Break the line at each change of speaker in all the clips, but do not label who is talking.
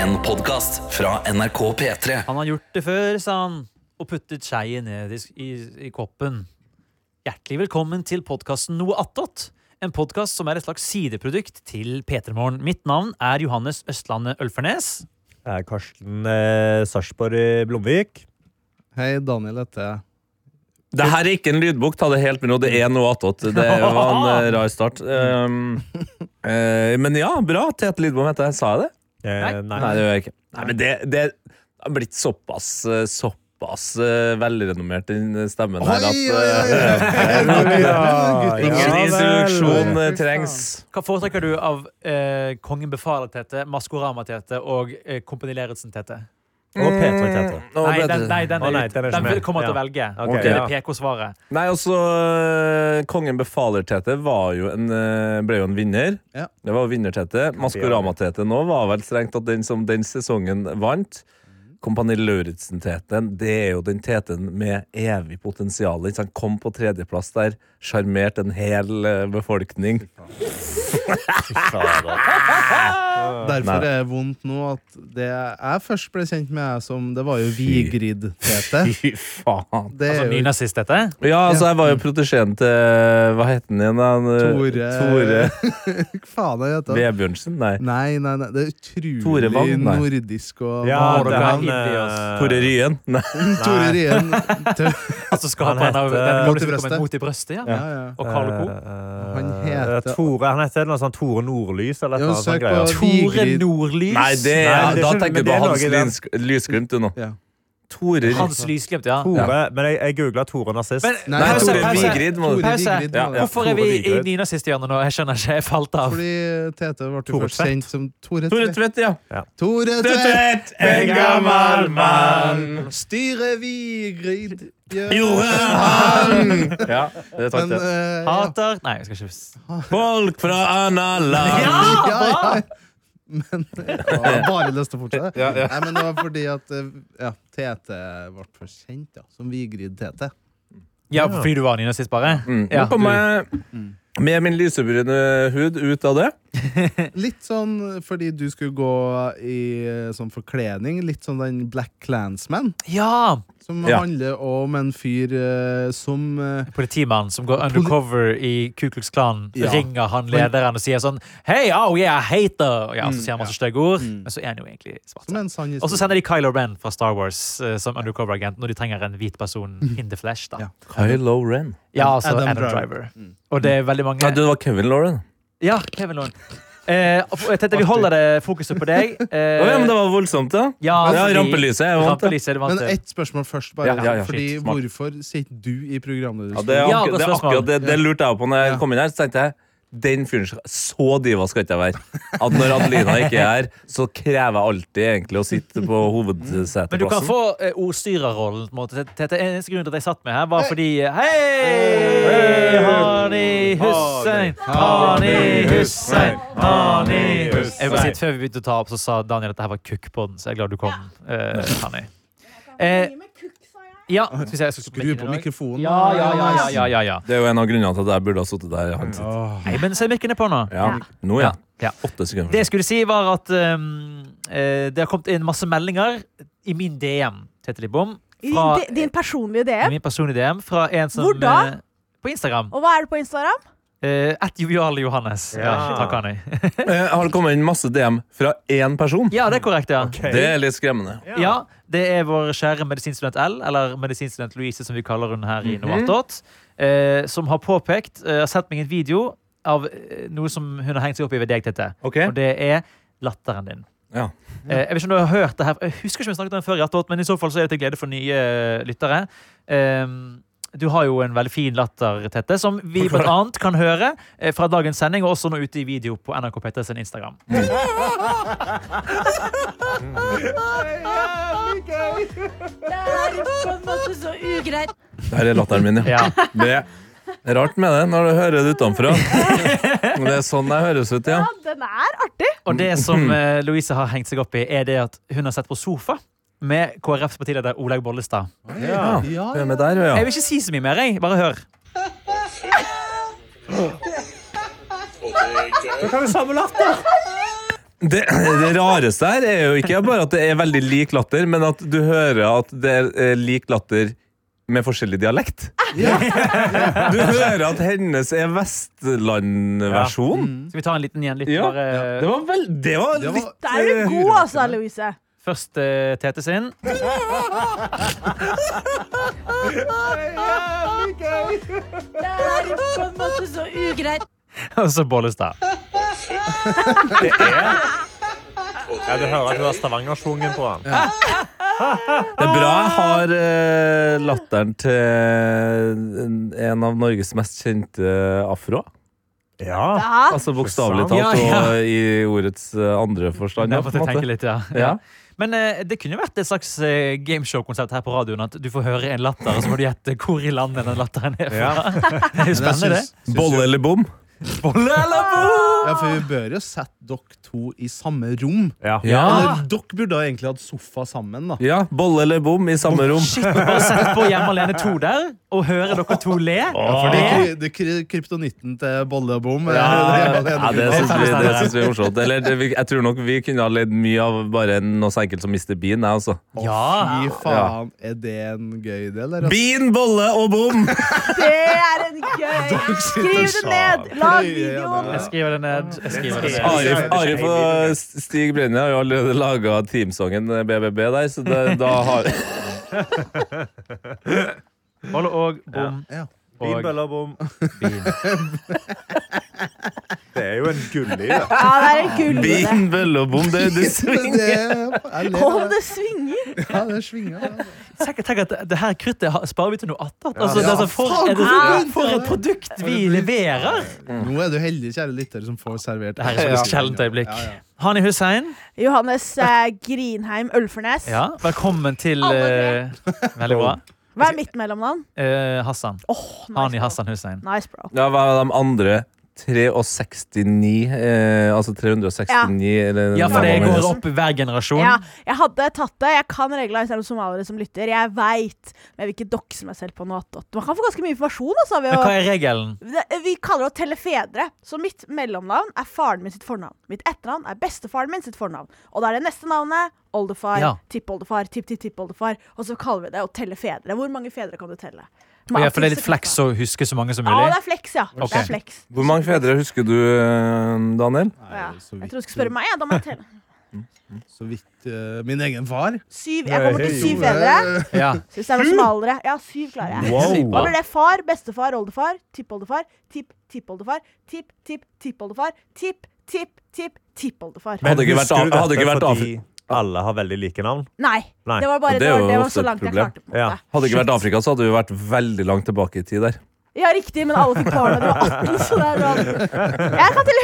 En podcast fra NRK P3
Han har gjort det før, sa han, og puttet skeiet ned i, i, i koppen. Hjertelig velkommen til podkasten Noe attåt, en podkast som er et slags sideprodukt til P3 Morgen. Mitt navn er Johannes Østlandet Ølfernes.
Jeg er Karsten eh, Sarpsborg eh, Blomvik.
Hei, Daniel heter jeg.
Det her er ikke en lydbok, ta det helt med ro. Det er noe attåt. Det var en eh, rar start. Um, eh, men ja, bra. Tete Lydbom heter jeg. Sa jeg det?
Eh,
Nei, det gjør jeg ikke. Nei, men det, det har blitt såpass, eh, såpass eh, velrenommert, den stemmen her, at eh, ingen
Ja vel.
introduksjon eh, trengs.
Hva foretrekker du av eh, Kongen befaler-Tete, Maskorama-Tete og eh, Kompani Lauritzen-Tete?
Og P3-tete.
Nå
Nei,
ble
den,
det-
nei, den
Å,
er
nei,
ut.
den er ikke
Den
med.
vil- kommer jeg til å velge.
Ok,
Det
ja.
er PK-svaret.
Nei, altså eh, Kongen befaler-Tete var jo en, eh, ble jo en vinner.
Ja.
Det var vinner-Tete. Maskorama-Tete nå var vel strengt tatt den som den sesongen vant. Kompani Lauritzen-Teten, det er jo den Teten med evig potensial. ikke sant? kom på tredjeplass der, sjarmert en hel eh, befolkning.
Derfor er det vondt nå at det jeg først ble kjent med jeg som Det var jo Vigrid-Tete.
Fy faen.
Altså
Det er jo
Nynazist-Tete.
Ja, altså, jeg var jo protesjeen til Hva het han igjen? Han, eh,
Tore-
Tore
Hva faen er det heter?
Vebjørnsen? Nei.
Nei, nei, nei, det er
Tore
utrolig
Vagn, nei.
nordisk og
Ja,
Nå har
det
dere
er han
inni oss.
eh,
Tore Ryen? Nei.
Tore Rien. Tø-
Altså skaperen av
heter-
den
Mot i
som
brøstet.
kom Mot i brøstet. Ja.
Ja, ja.
Og Carl Co.
eh,
Han
eh,
heter
Tore, han heter noe sånt Tore Nordlys eller
Ja,
noe sånt.
søk
greier.
Tore
på- Vigrid.
Nordlys.
Nei, det,
Nei, det
da
skjønner- men
tenker du på
det er
Hans
noe i den-
Lynsk- Lysglimt, du nå.
Ja.
Tore Ryen.
Hans Lysglimt, ja.
Tore, men jeg, jeg googla Tore nazist.
Men,
Nei,
Nei,
pause,
Tore
pause.
Vigrid må du
Tore
Pause.
Vigrid.
Ja,
var
ja.
det.
Hvorfor er vi i
Tore Vigrid.
nynazisthjørnet nå? Jeg skjønner ikke. Jeg falt av.
Fordi Tete ble jo
Tore
først
Tvedt.
kjent som Tore
Tore
Tvedt.
Tvedt, ja.
Tore Tvedt!
en gammel mann,
Styre Vigrid! Ja.
han! Ja, det er
Men
takk, det.
eh, ja.
Hater Nei, jeg skal ikke
Folk fra anna land.
Ja!
ja, ja. Men jeg har bare lyst til å fortsette.
Ja, ja.
Nei, men det var fordi at eh, ja, Tete ble for kjent, ja. Som Vigrid Tete.
Ja, fordi du var nynazist, bare?
Mm.
Ja,
Nå kom jeg med min lysebrune hud ut av det.
Litt sånn fordi du skulle gå i eh, sånn forkledning. Litt som den Black Clansman,
Ja!
som
Ja.
handler om en fyr eh, som eh,
Politimannen som går undercover i Ku Klux Klan,
Ja.
ringer han lederen og sier sånn Hey, oh yeah, hater! Ja, så
Mm,
sier han masse
ja.
stygge ord,
Mm.
men så er han jo egentlig svart.
Som er en sann
Og så
historie.
sender de Kylo Ren fra Star Wars eh, som undercover-agent når de trenger en hvit person in the flesh. da.
Ja.
Kylo Ren.
Ja, altså Adam,
Adam
Driver.
Driver.
Og det er veldig mange
Nei, du, det var Kevin Lauren.
Ja, Kevin Lauren. Eh, og for- Tete, vi holder det fokuset på deg. Eh,
Å, ja, men det var voldsomt, ja. Ja,
fordi-
rampelyset er jeg vant til.
Rampelyset er du vant
Men
til.
ett spørsmål først, bare.
Ja, ja, ja.
Fordi
Shit, smart.
Hvorfor sitter du i programmet?
Ja, det, er
Ja,
akkurat,
godt
det, er
spørsmål.
akkurat det, det lurte jeg på når jeg
Ja.
kom inn her. Så tenkte jeg den fyren skal- Så diva skal ikke jeg være. At når Adelina ikke er her, så krever jeg alltid egentlig å sitte på hovedseteplassen.
Men du kan få eh, ordstyrerrollen. på en måte. Tete, Eneste grunn til at jeg satt med her, var fordi eh, Hei! Hani Hussein! Hani Hussein! Hani Hussein! Jeg vil bare si at Før vi begynte å ta opp, så sa Daniel at dette her var kukkpodden, så jeg er glad du kom. eh, Hani. Eh, ja, skal vi se, jeg skal skru
Skru på mikrofonen.
Ja, ja, ja, ja, ja, ja, ja.
Det er jo en av grunnene til at jeg burde ha sittet der han sitter.
Nei, men se mikken er på nå.
Ja. Nå, ja.
Ja.
Åtte sekunder.
Det jeg skulle si, var at um, eh, det har kommet inn masse meldinger i min DM, Tete Lidbom.
I
Fra,
di- Din personlige
i
DM.
min personlige DM fra en som
Hvor da?
eh, På Instagram.
Og hva er det på Instagram?
Eh, At joviale Johannes. Ja.
Ja.
takk, Anni.
Eh, har det kommet inn masse DM fra én person?
Ja, det er korrekt, ja.
Ok.
Det er litt skremmende.
Ja, Det er vår kjære medisinstudent L, eller medisinstudent Louise, som vi kaller hun her i
Mhm.
Novatot, eh, som har påpekt, eh, har sendt meg en video av eh, noe som hun har hengt seg opp i ved deg, Tete. Og det er latteren din.
Ja.
Eh, jeg vet ikke om du har hørt det her Jeg husker ikke om jeg snakket om det før, i Jattåt, men i så fall så er det til glede for nye eh, lyttere. Ehm, du har jo en veldig fin latter, Tette, som vi blant annet kan høre eh, fra dagens sending, og også nå ute i video på NRK P3 sin Instagram.
Det er på en måte så ugreit.
Der er latteren min, ja.
Ja.
Det er rart med det når du hører det utenfra. Det er sånn jeg høres ut, ja.
Ja, den er artig.
Og det som eh, Louise har hengt seg opp i, er det at hun har sett på Sofa med KrFs partileder Olaug Bollestad.
ja.
Ja,
Hvem er der, ja?
Jeg vil ikke si så mye mer, jeg. Bare hør.
Da kan vi samle latter!
Det, det rareste her er jo ikke bare at det er veldig lik latter, men at du hører at det er eh, lik latter med forskjellig dialekt. Du hører at hennes er Vestland-versjon.
Skal vi ta en liten igjen? Litt,
Ja.
bare,
Det var vel Mm. Det var
Det var-
litt
Der er du god, altså, Louise.
Først eh, Tete sin.
Det er på en måte så ugreit.
Og så Bollestad.
Det er Ja, du hører at du har Stavanger-svungen på den.
Det er bra jeg har eh, latteren til en av Norges mest kjente afroer.
Ja.
Ja.
Altså bokstavelig talt
Ja, ja.
og i ordets eh, andre forstand.
Ja,
ja,
for
på en
jeg
måte.
tenker litt, ja.
Ja.
Men eh, det kunne jo vært et slags eh, gameshow-konsept her på radioen. At du får høre en latter, og så må du gjette hvor i landet den latteren er fra. Det er jo spennende, det.
Bolle eller bom?
Bolle eller bo?
Ja, for vi bør jo sette dere to i samme rom.
ja.
Ja.
Eller dere burde ha egentlig hatt sofa sammen, da.
ja. Bolle eller bom i samme rom.
Shit, bare sett på Hjemme alene 2 der, og høre dere to le.
For det er, kry- det er kry- kryptonitten til Bolle og Bom.
Ja,
Det
det
er det
syns
ene.
vi, det syns vi er morsomt. Eller det, vi- jeg tror nok vi kunne ha ledd mye av bare noe så enkelt som Mr. Bean, jeg altså. også.
Ja.
Fy faen, er det en gøy del? eller?
Bean, bolle og bom!
Det er en gøy Skriv det ned! Lag videoen!
Jeg skriver det ned. Jeg skriver det ned.
Arif, Arif og Stig Brenner har jo allerede eh, laga teamsongen BBB der, så det, da har
Bolle og bom.
Ja.
Bim,
Og
bella, bom. Det er jo en gull i det.
Ja, det er en gullgullet.
Bean, bølle og bom, det, det
Men
svinger!
det jeg ler
Å,
av det.
det svinger!
Ja, det svinger. ja.
tenk, tenk at det her kruttet har- sparer vi til noe attåt. Altså,
Ja.
det er så for,
Faen,
et,
hvor
for et produkt vi leverer!
Nå er du heldig, kjære lytter, som får servert
Det her er så et sjeldent øyeblikk. Hani Hussein,
Johannes eh, Grinheim Ølfernes.
ja, velkommen til eh, Veldig bra.
Hva er mitt mellomnavn?
Eh, Hassan.
Åh,
Hani
nice,
Hassan Hussein.
bro. nice, bro.
Ja, hva er de andre? 369 eh, Altså 369 eller
Ja, for det
noe
går
annet.
opp i hver generasjon.
Ja, jeg hadde tatt det. Jeg kan reglene selv om somaliere som lytter. Jeg veit, men jeg vil ikke dokse meg selv på noe attåt. Man kan få ganske mye informasjon, altså. Ved
Men hva
å
er regelen?
Det- vi kaller det å telle fedre, så mitt mellomnavn er faren min sitt fornavn. Mitt etternavn er bestefaren min sitt fornavn. Og da er det neste navnet oldefar,
Ja.
tippoldefar, tipptippoldefar. Og så kaller vi det å telle fedre. Hvor mange fedre kan du telle?
Ja, for det er litt fleks å huske så mange som
Ja, det
mulig.
er fleks, ja.
Ok.
Det er fleks.
Hvor mange fedre husker du, eh, Daniel?
Ja. Jeg tror du skulle spørre meg. Ja, da må jeg telle.
Så vidt eh, min egen far.
Syv. Jeg kommer til
Hei.
syv fedre.
Ja.
Syns det er noe smalere. Ja, syv klarer jeg. Da blir det far, bestefar, oldefar, tippoldefar, tipp-tippoldefar, tipp-tipp-tippoldefar, tipp-tipp-tippoldefar.
Hadde ikke vært-
husker du
hadde ikke
dette
vært av-
fordi alle har veldig like navn?
Nei.
Nei.
Det var bare
Og det
det,
er
var,
jo
det var
ofte
så
et
langt jeg
problem.
klarte. På en måte.
Hadde det ikke vært Afrika, så hadde vi vært veldig langt tilbake i tid der.
Ja. riktig, men alle fikk barn da de var 18, så det er bra. Jeg kan telle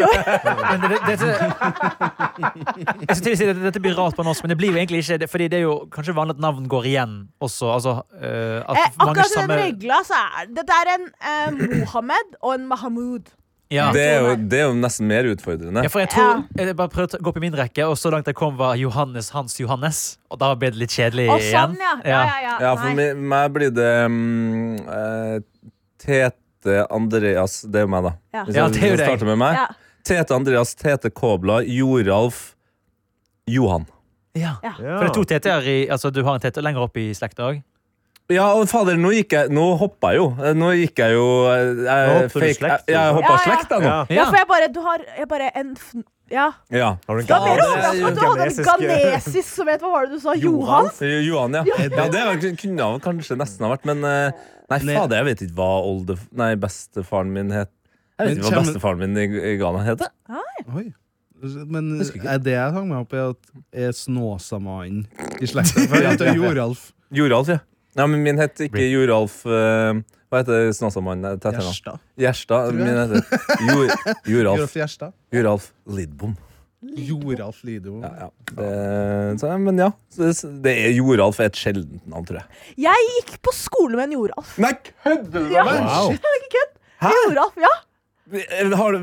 150 år.
Men det, det, dette, jeg skal til å si at Dette blir rart på norsk, men det blir jo egentlig ikke det. Fordi det er jo kanskje vanlig at navn går igjen også. Altså, eh, at
Eh,
mange
akkurat
samme-
den regla, så er det Det er en eh, Mohammed og en Mahamud.
ja.
Det er jo, det er jo nesten mer utfordrende.
Ja, for jeg tror Jeg bare prøvde å gå opp i min rekke, og så langt jeg kom, var Johannes Hans Johannes. Og da ble det litt kjedelig
Å, sånn,
igjen.
ja. Ja, ja, ja.
Ja, for
Nei.
meg, meg blir det mm, eh, Tete Andreas Det er jo meg, da.
Ja.
Hvis
Ja,
jeg-
det er jo
hvis jeg
deg.
starter med meg.
Ja.
Tete Andreas, Tete Kobla, Joralf, Johan.
Ja.
Ja.
Ja.
For det er to TT-er i Altså, du har en TT lenger opp i slekta òg?
Ja, og fader, nå gikk jeg Nå hoppa jeg jo. Nå gikk jeg jo eh,
Nå
Jeg,
hopper du
fake- jeg,
slekt, du.
jeg hoppa
Ja, ja.
slekt, jeg nå.
Ja.
ja, for jeg bare Du har jeg bare en fn- Ja.
Ja.
Har du en eh,
Da ble
gammel-
du overrasket over at du hadde en
Ganesisk-
ganesisk som het Hva var det du sa? Johan?
Eh, Johan, ja. ja det var- kunne han kanskje nesten ha vært, men eh, Nei, fader, jeg vet ikke hva olde... Nei, bestefaren min het. Jeg vet ikke hva
Men kjem-
bestefaren min i i Ghana het. jeg.
Oi. Men
Husker ikke.
er det jeg hang meg opp i, at er Snåsamannen i slekta? For jeg heter Joralf
Joralf, ja. ja. Men min het ikke Joralf eh, Hva heter snåsamannen? Gjerstad.
Gjerstad.
Gjerstad. Min heter Jor, Joralf.
Joralf Gjerstad.
Joralf Lidbom.
Joralf Lido.
Ja, ja. Det, så, men ja, så det, det er Joralf er et sjeldent navn, tror jeg.
Jeg gikk på skole med en Joralf.
Nei, kødder
Ja, shit, det er ikke kødd. Joralf, ja.
Eh, Har,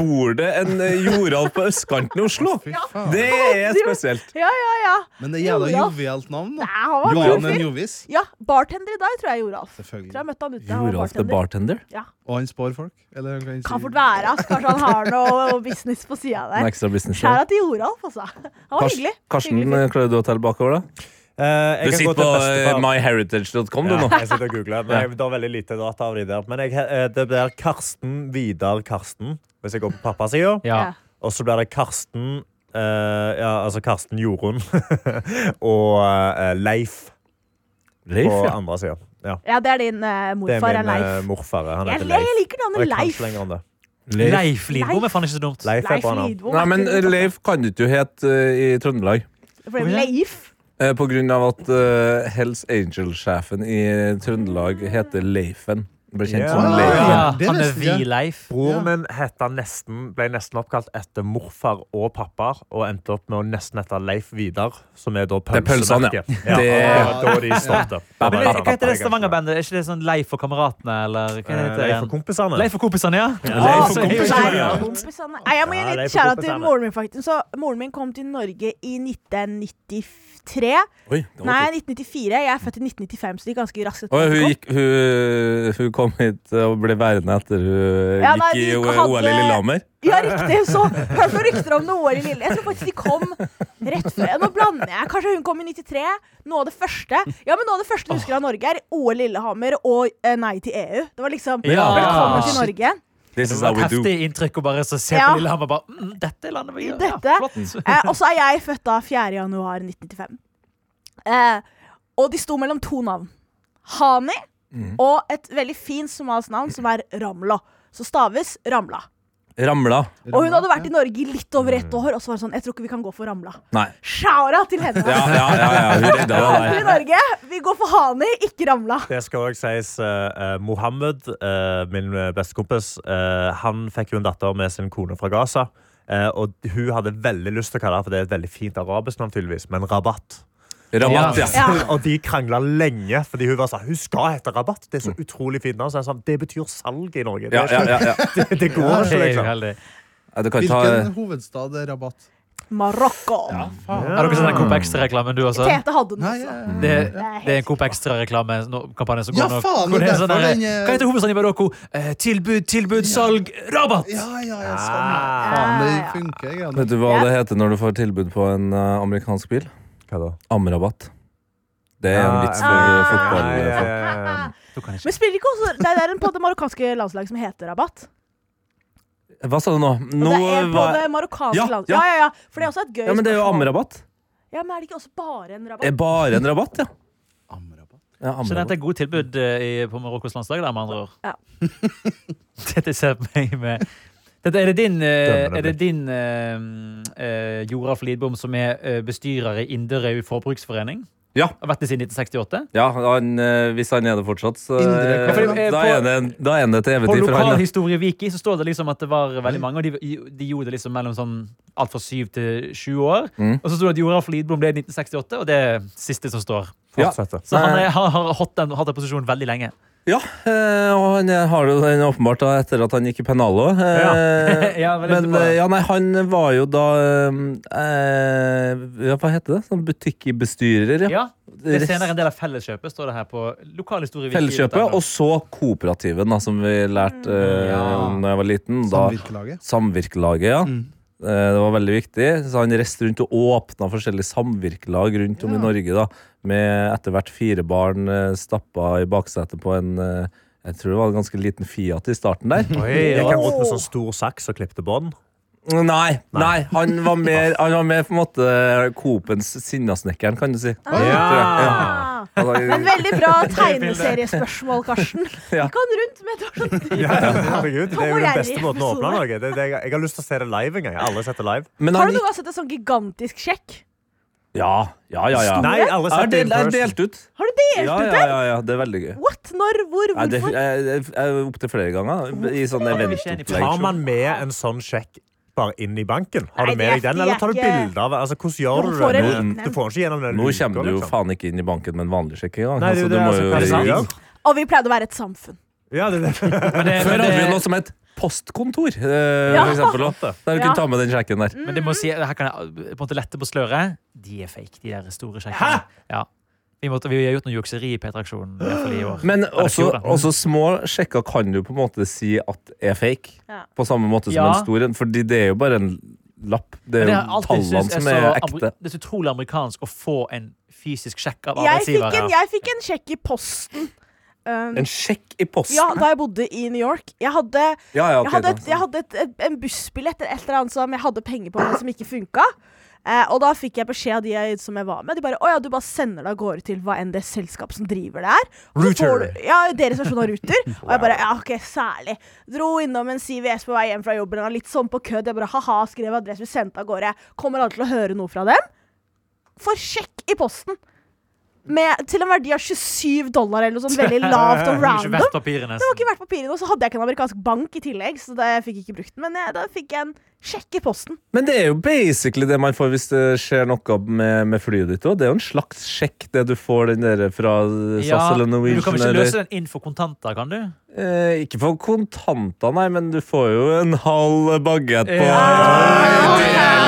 bor det en eh, Joralf på østkanten i Oslo?
Fy faen.
Det er spesielt.
Ja, ja, ja.
Men det er jævla
Joralf.
jovialt navn,
Nei,
da.
han var
Johan
kul
den
fyr.
Jovis.
Ja, bartender i dag, tror jeg, Joralf.
Selvfølgelig.
Tror jeg møtte han ute. han var
Joralf the
bartender.
bartender?
Og han spår folk. Eller han kan si
Kan fort være. ass. Kanskje han har noe business på sida
En
der.
ekstra business der.
Skjæra til Joralf, altså. Han var
Kars-
hyggelig.
Karsten,
Hyggelig fyr.
eh, klarer du å telle bakover, da?
Eh, jeg
Du
kan gå
sitter
til
på eh,
bestefar.
myheritage.com, du
Ja,
nå.
jeg sitter og googler. Men jeg, det er veldig lite data av de der. Men jeg, eh, det blir Karsten Vidar Karsten, hvis jeg går på pappasida.
Ja.
Ja.
Og så blir det Karsten eh, ja, altså Karsten Jorunn og eh, Leif på
Leif, ja.
andre sida. Ja.
ja, det er din
Det
eh,
er
morfar, er
min eh,
Leif.
morfar. Han
Jeg,
heter
jeg
Leif.
liker
Og
navnet
jeg kan
Leif.
ikke lenger om det.
Leif.
Leif Lindbom er faen ikke så dumt.
Leif er
Leif
bra navn.
Lidbom.
Nei, men eh, Leif kan du ikke hete eh, i Trøndelag.
For det er Leif.
Eh, På grunn av at eh, Hells Angel-sjefen i Trøndelag heter Leifen. Ble kjent
Ja.
som
Ja,
Leifen.
det er
han er
nesten
vi
det.
Leif.
Ja.
Broren min hette nesten, ble nesten oppkalt etter morfar og pappa, og endte opp med å nesten hette Leif Vidar, som er da
Det er pølsene, ja.
pølsemerket. Ja.
Det-
da de startet.
Ja, men, hva heter det Stavanger-bandet? Er ikke det sånn Leif og kameratene? Eller hva heter det
Eh, Leif og
igjen?
kompisene.
Leif og kompisene, ja. Ah,
Ja,
Ah,
Leif og
så er det jo
kompisene,
ikke-
ja.
Nei, kompisene. Nei, jeg må gi
Ja, Leif
en liten
og
kjære til
kompisene.
moren min, faktisk. Så moren min kom til Norge i 1993.
Oi, det var
Nei,
fint.
1994. Jeg er født i 1995, så det gikk ganske raskt. etter
Oi,
at
hun,
jeg kom.
gikk, hun, hun kom hit og ble værende etter hun
Ja, nei,
gikk i
de
O-
hadde-
OL i Lillehammer.
Ja, riktig. Så hørte noen rykter om noe i Lille. Jeg tror faktisk de kom rett før. Nå blander jeg. Kanskje hun kom i 93. Noe av det første Ja, men noe av det første jeg husker av Norge, er OL Lillehammer og eh, Nei til EU. Det var liksom
Ja.
Velkommen til Norge.
This
Det
is
var
how
et
we do.
heftig inntrykk å bare så se
Ja.
på Lillehammer og bare mm, Dette er landet vi gjør.
Dette.
Ja, flott.
Eh, og så er jeg født da 4. januar 1995. Eh, og de sto mellom to navn. Hani og et veldig fint somalisk navn som er Ramla. Så staves Ramla.
Ramla. Mm.
Og hun hadde vært i Norge i litt over ett år, og så var det sånn Jeg tror ikke vi kan gå for Ramla.
Nei.
Sjara til henne.
Ja, ja, ja, ja. hun redda
Her i
deg.
Norge, vi går for Hani, ikke Ramla.
Det skal òg sies. eh, eh, Mohammed, eh, min eh, bestekompis, eh, han fikk jo en datter med sin kone fra Gaza. eh, og hun hadde veldig lyst til å kalle henne for det er et veldig fint arabisk navn, tydeligvis, men Rabatt.
Rabatt, ja.
Ja.
Og de krangla lenge, fordi hun var sånn Hun skal hete Rabatt! Det er så utrolig fint navn. Så jeg sa det betyr salg i Norge. Det,
Mm. Ja,
er
ja,
ikke-
ja, ja.
det, det går
Det
ikke,
er jo
liksom.
heldig.
Ja, Du kan ta
Hvilken hovedstad er Rabat?
Marokko.
Har dere sett den Coop Extra-reklamen, du også?
Tete hadde den
Nei,
også.
ja,
Det,
helt
det er en Coop Extra-reklamekampanje som går
Ja,
nå.
faen,
Hvor det er
og
sånn
derfor
der,
den, eh,
Hva heter hovedstaden i Marokko? Eh, tilbud, tilbud, salg, rabatt!
ja, ja, ja
Ah.
sånn. Faen, det funker. greiene.
Vet du hva det heter når du får tilbud på en eh, amerikansk bil?
Hva da?
Amrabat. Det er en
Ja,
vits
ja.
for
ah,
eh,
Ja,
fotball.
ja, ja, ja.
Men spiller ikke også Det er en på det marokkanske landslaget som heter Rabat.
Hva sa du nå?
Og
nå
det er en på
var...
det marokkanske
Ja,
landet.
ja.
Ja, ja, ja. For det er også et gøy
Ja, men det er jo
spørsmål.
amrabat.
Ja, men er det ikke også bare en
Er
rabatt?
bare en rabatt, ja.
Amrabat.
ja
Så
amrabat.
dette er gode tilbud eh, i, på Marokkos landslag, da, med andre ord.
Ja.
Dette ser på meg med dette, Er det din, eh,
Dømmende
er det din eh, eh, Joralf Lidbom som er eh, bestyrer i Inderøy forbruksforening?
Ja.
Har vært det siden 1968?
Ja, han, eh, hvis han er det fortsatt, så eh,
Indre-
Ja, for det er
da,
på-
er det, da er det til evig
På
tid for Mm. han. ja.
lokalhistorie Viki så står det liksom at det var veldig mange, og de, de gjorde det liksom mellom sånn alt fra syv til sju år.
Mm.
Og så sto det at Joralf Lidbom ble i 1968, og det er siste som står.
Ja.
Fortsette.
Så han er, har, har hatt den, hatt den posisjonen veldig lenge.
Ja, eh, og han eh, har jo den åpenbart da, etter at han gikk i Penalo. eh,
Ja, vel
Men
etterpå.
eh, ja, nei, han var jo da eh, ja, Hva heter det? Sånn butikkbestyrer, ja.
Ja, det er
Rest-
senere en del av felleskjøpet, står det her på lokalhistorie.
Felleskjøpet, og så kooperativen, da, som vi lærte
Mm,
eh,
Ja.
da jeg var liten.
Sånn
Da,
Samvirkelaget.
samvirkelaget, ja.
Mm.
Eh, Det var veldig viktig. Så han reiste rundt og åpna forskjellige samvirkelag rundt om i
Ja.
Norge, da. Med etter hvert fire barn eh, stappa i baksetet på en eh, Jeg tror det var en ganske liten Fiat i starten der.
Jeg gikk han rundt med sånn stor saks og klippte bånd.
Nei, nei, han var mer, han var mer på en måte Coopens sinnasnekkeren, kan du si.
Ah.
Ja.
Men
Altså,
veldig bra tegneseriespørsmål, Karsten. Vi
Ja.
kan rundt med et sånt
Ja, herregud, det er jo den beste måten å åpne noe.
Episode.
Det, det, jeg, jeg har lyst til å se det live en gang. Jeg har aldri sett det live.
Men
Har
han
du noen
gikk
gang sett en sånn gigantisk sjekk?
Ja, ja, ja. ja.
Nei, jeg har aldri
Jeg har
sett det
delt,
in
jeg har
person.
delt ut.
Har du delt
Ja,
ut
ja,
den?
ja, ja, det er veldig gøy.
What? Når? Hvor?
Nei, det,
Hvorfor?
jeg, jeg, jeg, Opptil flere ganger. I sånne
Tar
eventopplegg.
man med en sånn sjekk bare inn i banken? Har
Nei,
du med
det
deg den,
er
eller tar du
ikke-
bilde av det? Altså, hvordan gjør
Du
du
får
det?
en-
Du får den ikke gjennom den
Nå
luka,
kommer du jo
liksom.
faen ikke inn i banken med en vanlig sjekk engang.
Nei, det er
Altså,
jo
du
det,
må
altså,
jo
hva er det som
ringe.
gjør?
Og vi pleide å være et samfunn.
Ja, det, det.
Men det,
Før
men
hadde vi jo noe
det,
som het postkontor, eh,
Ja.
for eksempel. også, Der vi
Ja.
kunne ta med den sjekken der.
men det må si, her kan jeg på en måte lette på sløret. De er fake, de der store sjekkene. Ja. Vi, måtte, vi har gjort noe jukseri i P3-aksjonen i hvert fall i år.
Men også,
fjor, da.
også små sjekker kan du på en måte si at er fake.
Ja.
På samme måte som
Ja.
en stor en, fordi det er jo bare en lapp. Det er
Men
jo
jeg har alltid
tallene
syntes
som
er
er
så ameri-
ekte.
Det er så utrolig amerikansk å få en fysisk sjekk av
Jeg fikk, en,
arbeidsgivere.
jeg fikk en sjekk i posten. Um,
Mm.
En sjekk i posten?
ja, da jeg bodde i New York. Jeg hadde,
Ja, ja, ok,
jeg hadde,
da.
et, jeg hadde et, et, en bussbillett eller et eller annet som jeg hadde penger på, men som ikke funka. Eh, og da fikk jeg beskjed av de jeg, som jeg var med. De bare 'Å ja, du bare sender det av gårde til hva enn det selskap som driver det er'. Og så får
Ruter.
Du, ja, deres versjon av Ruter. Og jeg bare 'Ja, OK, særlig'. Dro innom en CVS på vei hjem fra jobben. og Litt sånn på kødd. Jeg bare 'Ha-ha', skrev adresse, sendte av gårde. Kommer aldri til å høre noe fra dem. For sjekk i posten! Med, til en verdi av 27 dollar eller noe sånt veldig lavt og
Det har ikke
random.
vært papirene.
Det var ikke verdt papiret, og så hadde jeg ikke en amerikansk bank i tillegg. Så da jeg fikk ikke brukt den, men eh, da fikk jeg en sjekk i posten.
Men det er jo basically det man får hvis det skjer noe med, med flyet ditt òg. Det er jo en slags sjekk, det du får den der fra SAS
Ja,
eller
men du
Norwegian.
kan vel ikke
eller-
løse den inn for kontanter, kan du?
Eh, ikke for kontanter, nei, men du får jo en halv bagett på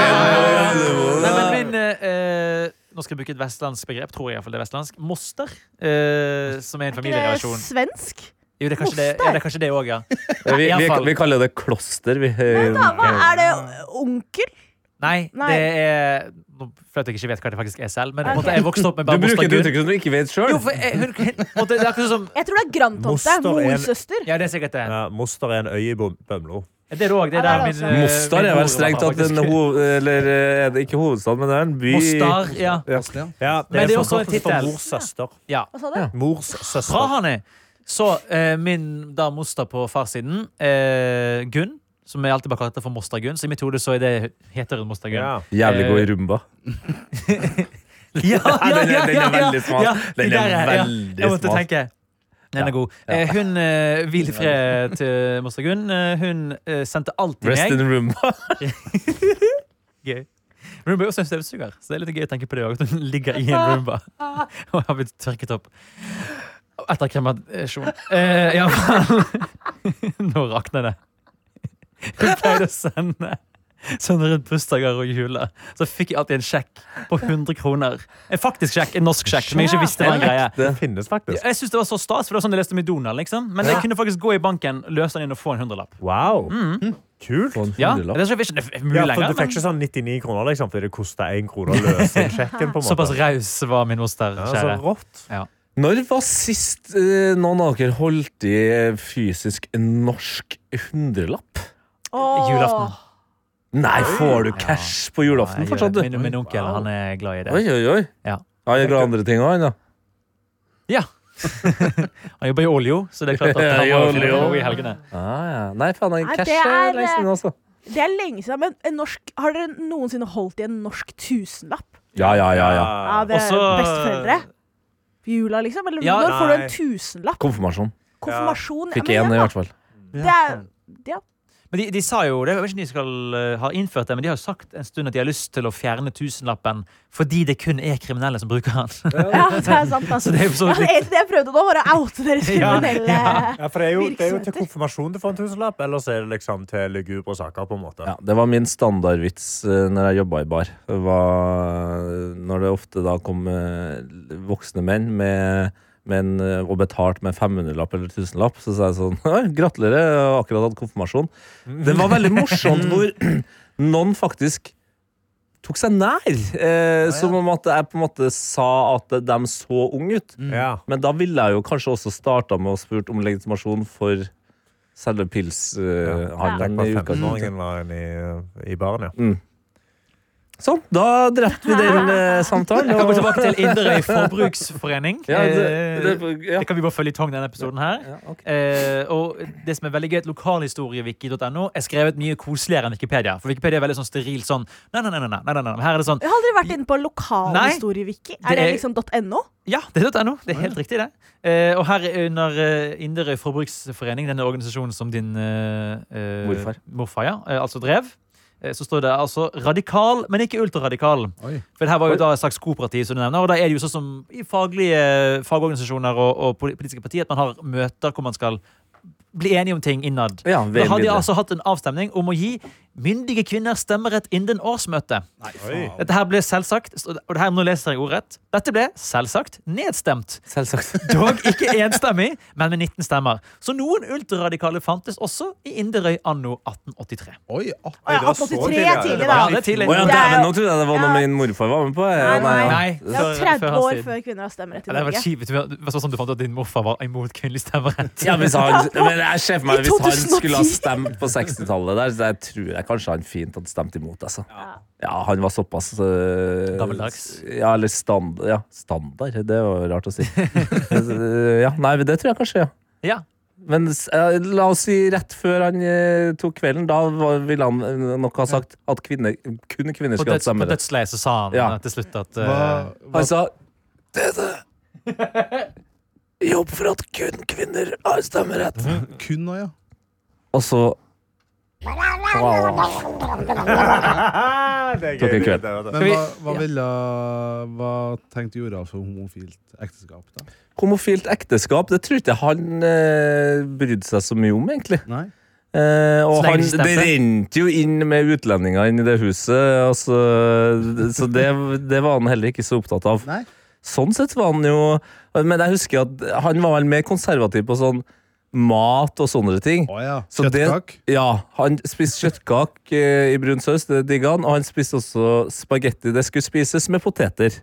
Nei, men min eh, eh, Nå skal jeg bruke et vestlandsbegrep, tror jeg i hvert fall det er vestlandsk. Moster, eh, som er en
Det er
familierelasjon.
Eh, svensk.
Jo, det er kanskje det òg, ja. Det er kanskje det også, ja.
Eh, vi,
i alle
vi,
fall.
vi kaller det kloster. Vi, eh,
Da, hva er det onkel?
Nei,
Nei.
det er Nå føler jeg ikke vet hva det faktisk er selv, men på en
Ok.
måte, jeg vokste opp med
Du
bare
bruker et
mostergud.
uttrykk som du ikke vet sjøl.
Jo, for jeg, hun, hun, på en måte, det er akkurat som
Jeg tror det er grandtomte.
Moster er en-
Morsøster.
Ja, det er sikkert det.
Ja, moster er en øy i Bom- Bømlo.
Det er det òg. Det er der
Ja, det er
min
det
eh,
Mostar
min
er
mor
vel
var
strengt tatt en
faktisk-
hov... Eller eh, er det ikke hovedstad, men det er en by
Mostar, ja.
Posten, ja.
Ja,
Men det er også en
forkortelse for
tittel.
Mors søster.
ja.
Hva sa du?
Mors
Fra
søster.
han er. Så eh, min da moster på farssiden, eh, Gunn, som jeg alltid bare kalte for moster Gunn, så i mitt hode så er det heter hun moster Gunn.
Ja.
Jævlig
eh,
god i rumba.
Ja,
den er- den er veldig smal. Den er veldig
Jeg måtte
smal.
tenke. Den
Ja,
er god. Eh, hun eh, Hvil i fred til moster Gunn. Eh, hun eh, sendte alltid
Rest
meg
in rumba.
Gøy. Roomba er også en støvsuger, så det er litt gøy å tenke på det også, At hun ligger i en roomba og har blitt tørket opp etter kremasjon. Eh, ja, Nå rakner det. Hun pleide å sende sånn rundt bursdager og juler. Så fikk jeg alltid en sjekk på 100 kroner. En faktisk sjekk, en norsk sjekk, som jeg ikke visste var en greie.
Det finnes faktisk.
Jeg synes det var så stas, for det var sånn jeg leste om i Donald. liksom Men jeg kunne faktisk gå i banken, løse den inn og få en hundrelapp.
Wow.
Hm.
Kult.
På en
Ja,
hundrelapp.
det er ikke det er mulig
Ja, for
Mm. lenger.
du fikk
men
ikke sånn 99 kroner liksom, fordi det kosta én krone å løse inn sjekken. på en sånn måte.
Såpass raus var min moster.
Ja,
kjære.
så rått.
Når var sist eh, noen av dere holdt i eh, fysisk norsk hundrelapp?
Åh.
Julaften.
Nei, får du cash på julaften
Nei, jeg
fortsatt,
gjør
du?
det. Min, min onkel han er glad i
Oi,
det.
oi, oi.
Ja.
Han er glad i andre ting òg, han, da.
Han jobber i olje, så det er klart at han
I
må jo finne
olje.
på noe i helgene.
Ah, ja. Nei, faen, han
Nei,
cash
det
er
er- eh,
lenge siden, altså.
Det er lenge siden, men en norsk, har dere noensinne holdt i en norsk tusenlapp?
Ja, ja, ja. ja.
Ja, det er
Også-
besteforeldre. På Jula, liksom? Eller
Ja,
når får du
nei.
en tusenlapp?
Konfirmasjon.
Konfirmasjon?
Fikk
ja,
én,
men
i
ja,
hvert fall.
da. Det er, ja.
Men de, de sa jo, det, Jeg vet ikke om de skal eh, ha innført det, men de har jo sagt en stund at de har lyst til å fjerne tusenlappen fordi det kun er kriminelle som bruker den.
ja, det er sant. Altså.
Så det er jo så
Ja, det eneste jeg prøvde nå, var å oute deres kriminelle
Ja, for det er, jo, det er jo til
Virksomheter.
konfirmasjon du får en tusenlapp, eller så er det liksom til lugubre saker. på en måte.
Ja, det var min standardvits eh, når jeg jobba i bar. Det var eh, når det ofte da kom eh, voksne menn med, med en, eh, og betalt med 500-lapp eller 1000-lapp, så sa jeg sånn «Oi, Gratulerer, jeg har akkurat hatt konfirmasjon. Det var veldig morsomt hvor noen faktisk tok seg nær. Eh, Som om at jeg på en måte sa at de så unge ut.
Mm.
Ja.
Men da ville jeg jo kanskje også starta med å spurt om legitimasjon for selve
Tenk
pilshandelen. i
hva
utgangspunktet.
15-åringen var inne i, i baren, ja.
Sånn, da drepte vi den eh, samtalen.
Jeg
og-
går tilbake til Inderøy forbruksforening.
Ja,
Eh,
det, det, ja.
Det kan vi bare følge i tong denne episoden her.
Ja, ok.
Eh, og det som er veldig gøy, at Lokalhistoriewiki.no er skrevet mye koseligere enn Wikipedia. For Wikipedia er veldig sånn steril sånn Nei, nei, nei. nei, nei, nei, nei. Her er det sånn
Jeg har aldri vært inne på lokalhistoriewiki.
det
Er det
er-
liksom .no?
Ja, det er .no. Det er helt riktig, det. Eh, og her under eh, Inderøy Forbruksforening, denne organisasjonen som din eh, eh,
Morfar.
ja, eh, altså drev, eh, så står det altså radikal, men ikke ultraradikal.
Oi.
For det her var jo da et slags kooperativ, som eh, du nevner. Og da er det jo sånn som i faglige fagorganisasjoner og, og poli- politiske partier at man har møter hvor man skal bli enige om ting innad.
Ja,
Da
vel
hadde jeg
videre.
altså hatt en avstemning om å gi myndige kvinner stemmerett innen årsmøtet. Dette her ble selvsagt, og det her nå leser jeg ordrett, dette ble selvsagt nedstemt.
Selvsagt.
Dog ikke enstemmig, men med 19 stemmer. Så noen ultraradikale fantes også i Inderøy anno 1883.
Oi, ah. at-
Å, ja,
det var så
1883
tidlig,
er
ja.
tidlig,
Ja,
da.
det er tidlig.
Å ja,
Det er
dæven,
jo-
nå trodde jeg det var noe
Ja.
min morfar var med på. Ja,
Nei, nei.
ja.
Nei,
Det er
før-
30
før hans
år
tid.
før kvinner har stemmerett i
Ja, det var
Norge.
kjipt. Det var sånn som du fant ut at din morfar var imot kvinnelig stemmerett.
Ja, hvis han, men jeg ser for meg
I
Hvis han
2010.
skulle ha stemt på 60-tallet, der, så jeg tror jeg kanskje han fint hadde stemt imot. Altså. Ja, Han var såpass øh,
Gammeldags.
Ja, eller stand, ja, standard. Det var jo rart å si. ja, nei, men det tror jeg kanskje, ja.
Ja.
Men s- eh, la oss si rett før han eh, tok kvelden, da var- ville han eh, nok ha sagt at kvinner, kun kvinner
På,
skulle hatt
døds, på
stemmerett.
dødsleiet så sa han
Ja.
eh, til slutt at eh,
hva, hva,
Han sa Dette Jobb for at kun kvinner har stemmerett.
Mhm.
kun nå, ja.
Og så
Det er
Tok en
gøy.
kveld.
Det var det.
Men
vi-
hva, hva ville Hva tenkte Joralf for homofilt ekteskap, da?
Homofilt ekteskap, det tror ikke jeg han eh, brydde seg så mye om, egentlig.
Nei?
Eh,
Så
og
lenge
han,
de stemte.
det rente jo inn med utlendinger inn i det huset, altså, så det, det var han heller ikke så opptatt av.
Nei?
Sånn sett var han jo Men jeg husker at han var vel mer konservativ på sånn mat og sånne ting.
Å ja.
Så det-
Kjøttkake?
Ja, han spiste kjøttkake eh, i brun saus, det digga han. Og han spiste også spagetti. Det skulle spises med poteter.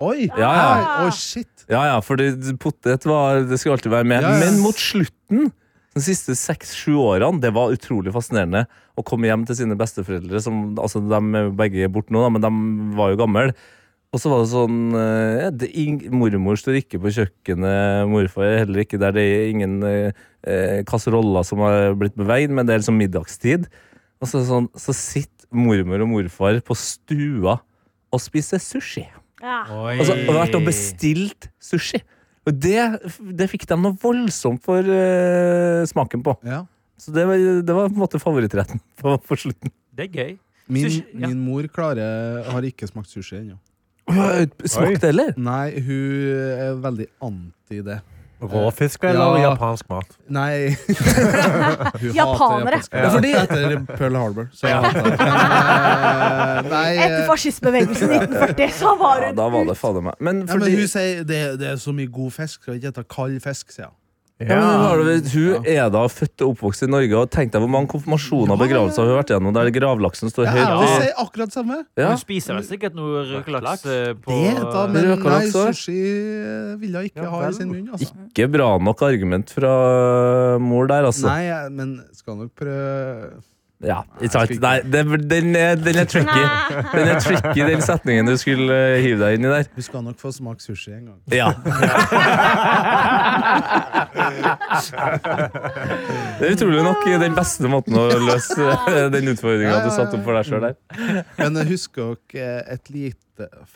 Oi!
Ja, ja.
Nei, Å, shit!
Ja, ja, for det, potet var, det skulle alltid være med.
Ja, ja.
Men mot slutten, de siste seks-sju årene, det var utrolig fascinerende å komme hjem til sine besteforeldre. Som, altså, de er jo begge borte nå, da, men de var jo gamle. Og så var det sånn eh, ja, det, ing, Mormor står ikke på kjøkkenet, morfar er heller ikke der. Det er ingen eh, eh, kasseroller som har blitt på veien, men det er liksom middagstid. Og så, er det sånn, så sitter mormor og morfar på stua og spiser sushi.
Ja.
Oi.
Altså, og vært og bestilt sushi. Og det, det fikk de noe voldsomt for eh, smaken på.
Ja.
Så det var, det var på en måte favorittretten på, på slutten.
Det er gøy.
Min,
Sushi, ja.
min mor klarer, har ikke smakt sushi ennå.
Smakte det, eller?
Nei, hun er veldig anti det.
Råfisk eller
Ja.
japansk mat?
Nei Hun hater
Japanere.
japansk mat. Etter Pearl Harbor. Så jeg hater det. Men, eh, Nei,
Etter
eh,
fascistbevegelsen i 1940 så var
Ja,
hun
da var det fader meg. Men
ja,
fordi
men hun sier det, det er så mye god fisk, skal vi ikke spise kald fisk, sier hun.
ja, men hun, har det, hun er da født og oppvokst i Norge, og tenk deg hvor mange konfirmasjoner og begravelser hun har vært gjennom der gravlaksen står
Ja,
høyt.
hun
i-
sier akkurat samme.
Ja.
Hun spiser vel sikkert noe røkelaks eh, på
Det da, men
Røker
nei,
også?
sushi eh, vil hun ikke
Ja,
ha i
vel.
sin munn, altså.
Ikke bra nok argument fra mor der, altså.
Nei, jeg- men skal nok prøve
Ja, ikke sant?
skal ikke-
Nei, det, den, er, den er tricky. Den er tricky, den setningen du skulle eh, hive deg inn i der.
Hun skal nok få smake sushi en gang.
Ja. Det er utrolig nok den beste måten å løse den utfordringa du satte opp for deg sjøl der.
Men jeg husker dere eh, et lite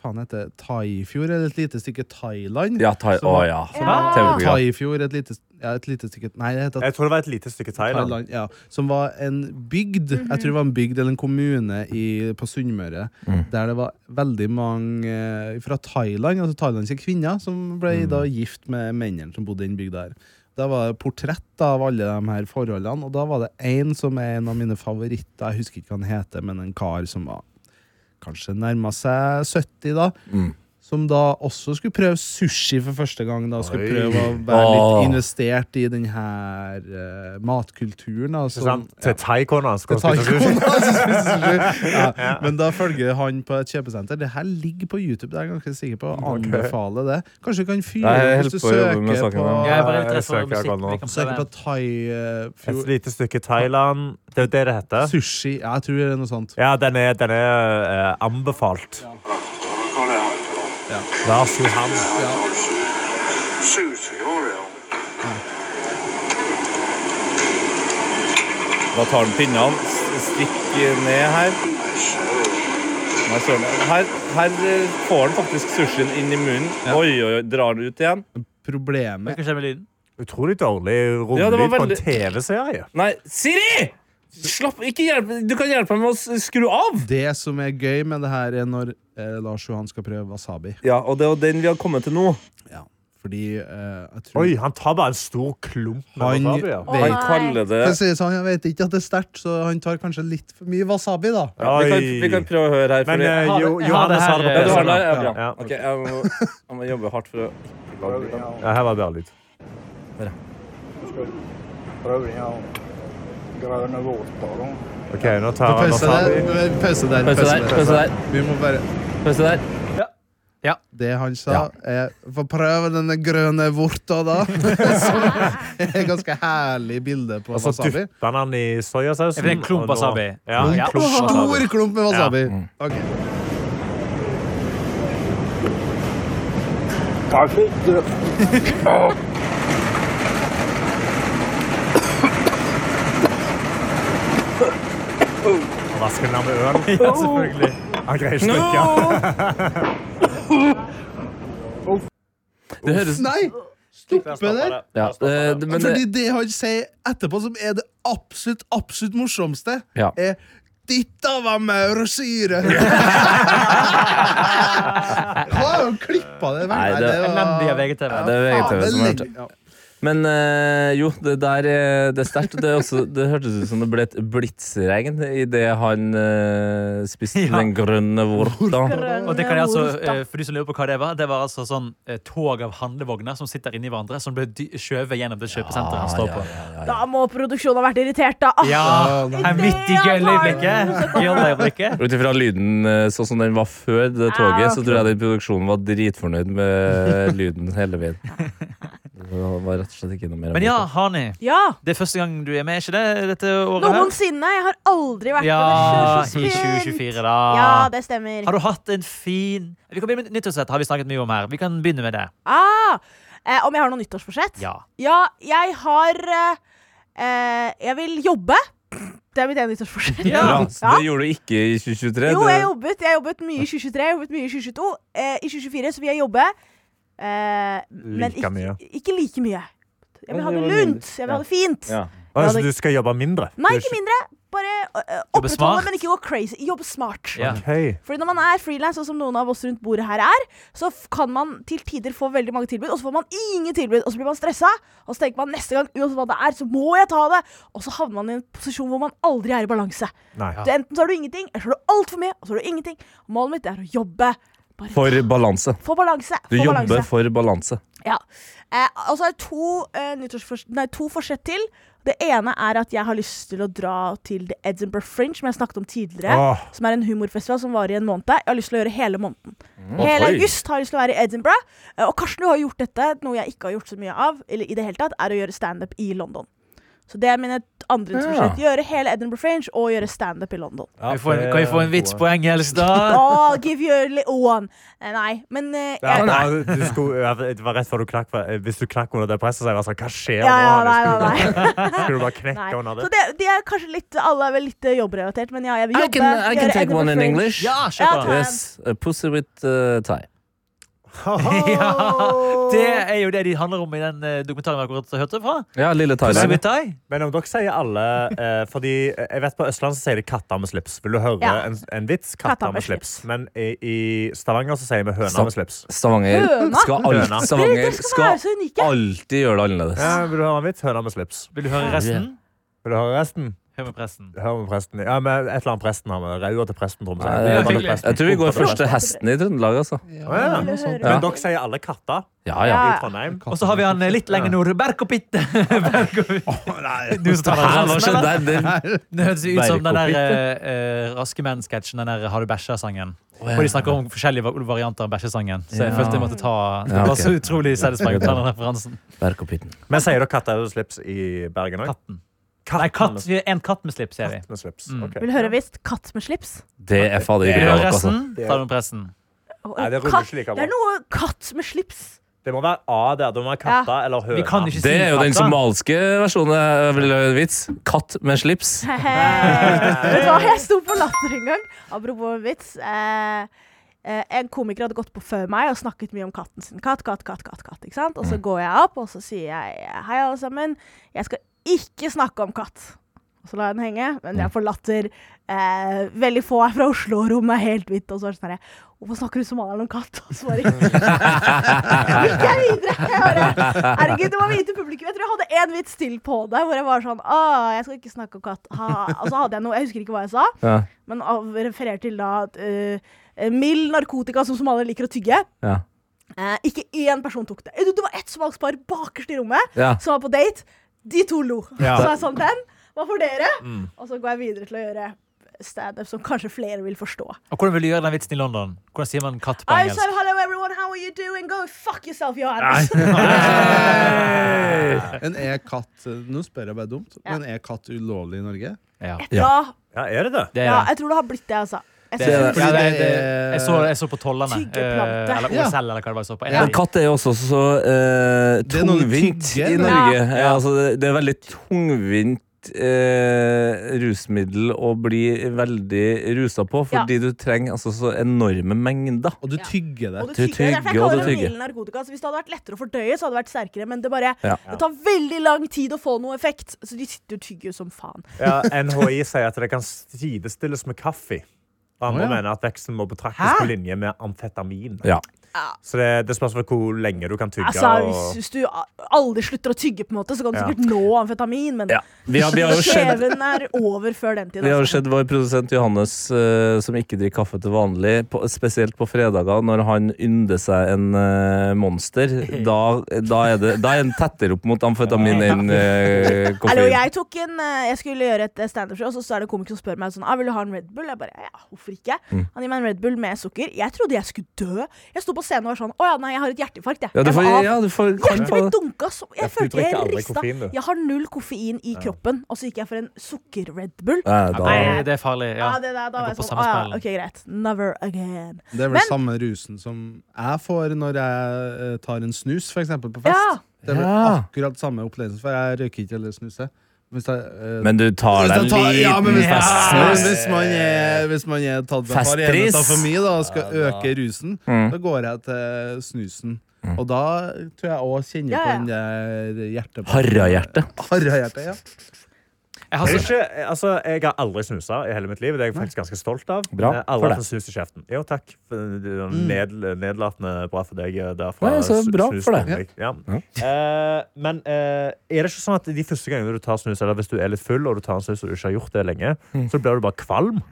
Faen, heter det Thaifjord? Eller et lite stykke Thailand?
Ja, thai, å ja.
Ja.
TV-program.
Thaifjord, et lite, ja, et lite stykke Nei, det heter
Jeg tror det var et lite stykke Thailand.
Thailand, ja, som var en bygd, jeg tror det var en bygd eller en kommune i, på Sunnmøre, der det var veldig mange eh, fra Thailand, altså thailandske kvinner, som ble da gift med mennene som bodde i den bygda her. Da var det portrett av alle de her forholdene, og da var det en som er en av mine favoritter, jeg husker ikke hva han heter, men en kar som var kanskje nærma seg 70 da,
Mm.
som da også skulle prøve sushi for første gang. Da skulle
Oi.
prøve å være litt
Åh.
investert i den her eh, matkulturen. Da,
Ikke
som-
sant? Til thaikona.
Det
skal
tar
spise
ikke
sushi.
hånda, altså, spiser sushi. ja. Men da følger han på et kjøpesenter. Det her ligger på YouTube, det er jeg ganske sikker på. Anbefaler det. Kanskje du kan fyre
Nei, jeg
opp
holder
hvis du
på å jobbe med
søker
saken,
på,
ja.
Jeg er bare litt
Jeg
redd for
søker akkurat nå.
musikk. Vi kan
søker på eh,
prøve.
Et
Thaifjord
lite stykke Thailand. Det er jo det det heter.
Sushi. Ja, jeg tror det er noe sånt.
Ja, den er, den er eh, anbefalt. Lars Johan.
Da tar han pinnene, stikk ned her. Nei, søren. Her, her eh, får han faktisk sushien inn i munnen. Oi, oi, oi, drar den ut igjen.
Hva
Problemet
kan skje med lyden?
Utrolig dårlig
Ja,
romlyd
det var
på en
veldig-
TV-serie.
Nei, Siri! Slapp, ikke hjelp. Du kan hjelpe meg med å s- skru av!
Det som er gøy med det her, er når eh, Lars Johan skal prøve wasabi.
Ja, og det er jo den vi har kommet til nå.
Ja. Fordi eh, jeg tror
Oi, han tar bare en stor klump med
Han-
wasabi. ja.
Å,
Han
nei.
kaller det
For å si det sånn, jeg vet ikke at det er sterkt, så han tar kanskje litt for mye wasabi, da.
ja, vi, kan, vi kan prøve å høre her. eh,
Men
fordi-
eh, jo,
det-
Johannes
ha
har det
det
på
her,
ja, du har
PC.
den der? Ja, bra.
Ja.
Ok, jeg må, jeg må jobbe hardt for å ikke lage lyd. av den.
Ja, her var det bare lyd. OK, nå tar han
Pause
wasabi.
der. Pause der.
Pause der, pause der,
Vi må bare
pause der.
Det han sa, er Få prøve denne grønne vorta, da. Som er et ganske herlig bilde på
Og så
wasabi.
dypper han den i soyasausen.
Jeg fikk en klump
og nå-
wasabi.
Ja, en
Ja.
klump wasabi.
Stor klump med wasabi.
Mm.
Ok.
Og vasker den av med øl. Ja, selvfølgelig. Han greier ikke å drikke.
Det høres
Nei! Stoppe der.
ja, eh, det- men det-
Fordi det han sier etterpå, som er det absolutt, absolutt morsomste,
Ja.
er Ditta var maursyre! Har jo klippa det
Nei,
Nei,
det-
var-
Elendig av VGTV.
det er
Ja,
VGTV
det
som har hørt det.
legger- ja.
Men eh, jo, det der eh, det er sterkt. Det, er også- det hørtes ut som det ble et blitsregn idet han eh, spiste
Ja.
den grønne vorta.
Og det kan jeg altså, eh, for de som lurer på hva Det var Det var altså sånn eh, tog av handlevogner som sitter inni hverandre, som ble dy- skjøvet gjennom det kjøpesenteret han står på.
Da må produksjonen ha vært irritert, da. Ah,
Ah, Ja,
nei.
her Midt i gøyleøyeblikket. Gøyleøyeblikket.
Ut ifra lyden eh, sånn som den var før det
Ja,
toget, så
ok.
tror jeg den produksjonen var dritfornøyd med lyden hele veien. Det var rett og slett ikke noe mer å
Men ja,
si.
Hani.
Ja,
Det er første gang du er med, ikke det? Dette året her?
noensinne. Jeg har aldri vært
Ja,
på
i
det. Det er så spent.
2024,
Ja,
da.
det stemmer.
Har du hatt en fin Vi kan begynne med nyttårsrett, har vi snakket mye om her. Vi kan begynne med det.
Ah, eh, om jeg har noe nyttårsforsett?
Ja.
Ja, jeg har eh, eh, Jeg vil jobbe. Det er mitt ene nyttårsforsett.
Ja.
Bra, så
Ja.
Det gjorde du ikke i 2023.
Jo, jeg
det,
jobbet. Jeg jobbet mye i 2023, jeg jobbet mye i 2022. Eh, I 2024 så vil jeg jobbe. Eh, men
Like
ikke,
mye.
ikke like mye. Jeg vil
Men
ha
det
det
var
lunt.
mindre.
Jeg vil ha det fint.
Ja.
Å,
Ja,
så
det-
du skal jobbe mindre?
Nei,
Du-
ikke mindre. Bare eh,
Jobbe
opprettholde,
smart.
men ikke gå crazy. Jobbe smart.
Ja.
Ok.
Fordi når man er frilans, sånn som noen av oss rundt bordet her er, så f- kan man til tider få veldig mange tilbud, og så får man ingen tilbud, og så blir man stressa, og så tenker man neste gang, uansett hva det er, så må jeg ta det, og så havner man i en posisjon hvor man aldri er i balanse.
Nei.
Så enten så har du ingenting, eller så har du altfor mye, og så har du ingenting. Målet mitt er å jobbe. Bare
For balanse.
få balanse.
Du
få
jobber
balanse.
for balanse.
Ja. Eh, og så har jeg to, eh, nyttårsfors- nei, to forsett til. Det ene er at jeg har lyst til å dra til The Edinburgh Fringe, som jeg snakket om tidligere.
Ah.
Åh,
Som er en humorfestival som varer i en måned. Jeg har lyst til å gjøre hele måneden.
Mm. Oi.
Hele august har jeg lyst til å være i Edinburgh. Eh, Og Karsten, du har gjort dette, noe jeg ikke har gjort så mye av, eller i det hele tatt, er å gjøre standup i London. Så det er mine t- andre
Ja.
nyttårsforsett. Gjøre hele Edinburgh Fringe og gjøre standup i London.
Kan vi få en, kan vi få en vits på engelsk, da?
Oh, give you a little one. Eh, Nei, men eh,
Ja,
jeg,
ja, du skulle, ja, det var rett før du knakk for- eh, Hvis du knakk under det presset, så jeg var sånn Hva skjer
ja,
nå?
ja, nei,
Hannes?
nei, nei.
Skulle du bare knekke
nei.
under det?
Så det, det er kanskje litt Alle er vel litt eh, jobbrelatert, men ja, jeg vil
I
jobbe.
can, I can
gjøre
take one
Edinburgh
in
Fringe.
English.
Ja, kjør på.
Ja,
Yes, a pussy with uh, tie.
Ja, det er jo det de handler om i den eh, dokumentaren vi akkurat hørte fra.
Ja, lille
Så
Thailand.
vidt jeg.
Men om dere sier alle eh, Fordi eh, jeg vet på Østlandet så sier de katter med slips. Vil du høre
Ja.
en, en vits? Katter med slips. Men i, i Stavanger så sier vi høner
Stopp.
med slips.
Stavanger
Høna.
skal,
Høna.
alt, Stavanger
Dere skal
skal
være så unike.
alltid gjøre det annerledes.
Ja, vil du høre en vits? Høner med slips.
Vil du høre resten?
Vil du høre resten?
Hør med presten.
Hør med presten. Ja, men et eller annet presten har med. Raua til presten, Tromsø.
Nei,
Pumpa til
jeg,
presten.
Eh, jeg tror vi går
Pumpa til
først til hesten i Trøndelag, altså.
Å, ja.
Vil du høre?
Ja.
Men dere sier alle katter
Ja, ja.
i Trondheim.
Og så har vi han eh, litt lenger nord. Berkopitte! Berkopitte. Du som tar
Hæ,
den
hva
sansen,
skjedde
eller?
der? Det-
Det høres ut som den der eh, eh, Raske menn-sketsjen, den der Har du bæsja-sangen. Hvor de snakker om forskjellige va- varianter av bæsjesangen. Så jeg
Ja.
følte jeg måtte ta
Ja,
Det var
ok.
så utrolig satisfying å ta den referansen.
Berk og pitten.
Men sier dere katter med slips i Bergen òg?
Katten. Nei, katt, en katt med slips, sier vi.
Med slips.
Mm.
ok.
Vil du høre visst katt med slips?
Det er fader
Vil
ikke
du
bra
høre
nok, altså.
resten? Ta den med pressen.
Nei, det ruller
katt,
ikke like
det
bra.
er noe katt med slips.
Det må være A der. Det må være katter eller høna.
Vi kan ikke si
Det er jo den
katta.
somaliske versjonen eh, av en vits. Katt med slips.
Vet du hva, jeg sto på latter en gang. Apropos en vits. Eh, eh, en komiker hadde gått på før meg og snakket mye om katten sin. Katt, katt, katt, katt, katt. ikke sant? Og så går jeg opp og så sier jeg hei, alle sammen. Jeg skal ikke snakke om katt. Og så la jeg den henge, men jeg får latter. Eh, veldig få er fra Oslo, og rommet er helt hvitt. Og så var det sånn her Hvorfor snakker du somalier om katt? Og så bare gikk jeg videre. Jeg bare, Herregud, det var hvite publikum. Jeg tror jeg hadde én vits til på det, hvor jeg var sånn Å, jeg skal ikke snakke om katt. Ha. Og så hadde jeg noe, jeg husker ikke hva jeg sa,
Ja.
men av- refererte til da at eh, mild narkotika som somaliere liker å tygge.
Ja.
Eh, ikke én person tok det. Eh, Det var ett smakspar bakerst i rommet
Ja.
som var på date. De to lo.
Ja.
Så jeg sånn, den var for dere.
Mm.
Og så går jeg videre til å gjøre standup som kanskje flere vil forstå.
Og hvordan vil du gjøre den vitsen i London? Hvordan sier man katt på
I'm so
engelsk?
hello everyone, how are you doing? Go fuck yourself, Johannes.
Men er katt eh, Nå spør jeg bare dumt,
Ja.
men er katt ulovlig i Norge?
Ja,
Ja.
Ja, er det det?
det er
ja,
det.
jeg tror det har blitt det, altså. Jeg
Det,
synes-
er det.
Fordi
ja, det,
det
det.
er-
Jeg, så, jeg så på Tollerne.
Tyggeplante.
eh, Eller
Ja.
OSL, eller hva det var jeg så på. En
Ja.
av
Men
de.
katt er jo også så eh,
Det er noe du
tungvint
tygger,
i
da.
Norge.
Ja.
Ja. altså, det, det er veldig tungvint eh, rusmiddel å bli veldig rusa på,
Ja.
fordi du trenger altså, så enorme mengder.
Og du
Ja.
tygger det.
Og du
Du
tygger, det er derfor
tygger, og
jeg kaller
du
det
tygger.
mild narkotika. Så hvis det hadde vært lettere å fordøye, så hadde det vært sterkere. Men det bare
Ja.
Det tar veldig lang tid å få noe effekt. Så de sitter og tygger som faen.
Ja, NHI sier at det kan sidestilles med kaffe. Og andre
Å, ja.
mener at veksten må betraktes på linje med amfetamin.
Ja.
Så det, det spørs vel hvor lenge du kan tygge.
Altså, hvis,
og...
hvis du a- aldri slutter å tygge, på en måte, så kan du
Ja.
sikkert nå amfetamin, men
Ja. Vi har, vi har jo sett
skjeven er over før den tid.
Vi har jo
altså.
sett vår produsent Johannes, eh, som ikke drikker kaffe til vanlig, på, spesielt på fredager, når han ynder seg en eh, monster. Da, da er det da er en tettere opp mot amfetamin enn eh,
Hallo,
koffein.
jeg tok en eh, Jeg skulle gjøre et eh, standup-show, og så er det en komiker som spør meg sånn ah, Vil du ha en Red Bull? Jeg bare ja, hvorfor ikke?
Mm.
Han gir meg en Red Bull med sukker. Jeg trodde jeg skulle dø. Jeg sto på scenen og var sånn Å ja, nei, jeg har et hjerteinfarkt, jeg.
Ja, du
Jeg
får,
var av.
ja, du får, kan
Hjertet
få
ble dunka så
for
Jeg
du
følte
drikker
jeg
aldri
rista.
koffein, du.
Jeg har null koffein i kroppen, og så gikk jeg for en sukker-Red Bull.
Nei, da,
Nei, det er farlig.
Ja,
Ja.
det der, da var
Jeg går
jeg
på
sånn
samme
Å ja,
smellen.
ok, greit. Never again.
Det er vel
Men-
samme rusen som jeg får når jeg eh, tar en snus, for eksempel, på fest.
Ja.
Det er vel
Ja.
akkurat samme opplevelsen, for jeg røyker ikke eller snuser. Hvis jeg, eh,
Men du tar
hvis
deg
jeg tar-
en
ja, men
liten
hvis, men
festsnus.
hvis, man er, hvis man er tatt seg for
Festpris.
enhet av for mye da, og skal øke rusen,
Mm.
da går jeg til snusen. Og da tror jeg òg kjenner
Ja, ja.
på den der hjertet...
Harrahjerte.
Harrahjerte, ja.
Jeg har
Det er
så,
Ikke, altså, jeg har aldri snusa i hele mitt liv. Det er jeg faktisk ganske stolt av.
Bra
Eh,
for
Alle har
deg.
fått snus i kjeften. Jo, takk. For det er Ned, nedlatende bra for deg eh, derfra.
Nei, så
Sn-
bra
snus
for deg.
meg. Ja. Eh, men eh, er det ikke sånn at de første gangene du tar snus, eller hvis du er litt full og du tar en snus og du ikke har gjort det lenge, så blir du bare kvalm?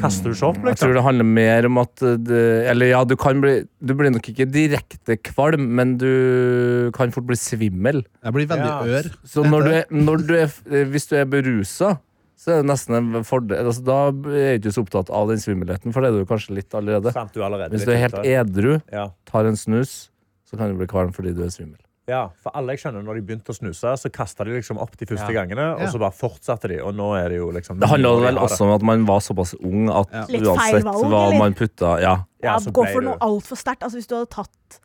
Kaster du ikke opp,
Mm. Jeg tror
liksom?
det handler mer om at eh, det, Eller ja, du kan bli Du blir nok ikke direkte kvalm, men du kan fort bli svimmel.
Jeg blir veldig
Ja.
ør.
Så når du er, når du er, eh, hvis du er berusa, så er det nesten en fordel altså, Da er du ikke så opptatt av den svimmelheten, for det er du kanskje litt allerede.
Sant, du er allerede
Hvis
litt
du er helt e-
ute.
edru,
ja.
tar en snus, så kan du bli kvalm fordi du er svimmel.
ja, for alle jeg skjønner, når de begynte å snuse, så kasta de liksom opp de første
Ja.
gangene, og
Ja.
så bare fortsatte de, og nå er det jo liksom
Det handler
Nå har
vel
det.
også om at man var såpass ung at
Ja.
Litt feil
uansett
valg,
hva
eller?
man putta Ja.
Ja,
Ja,
så
gå
ble
for
du-
noe altfor sterkt. Altså, hvis du hadde tatt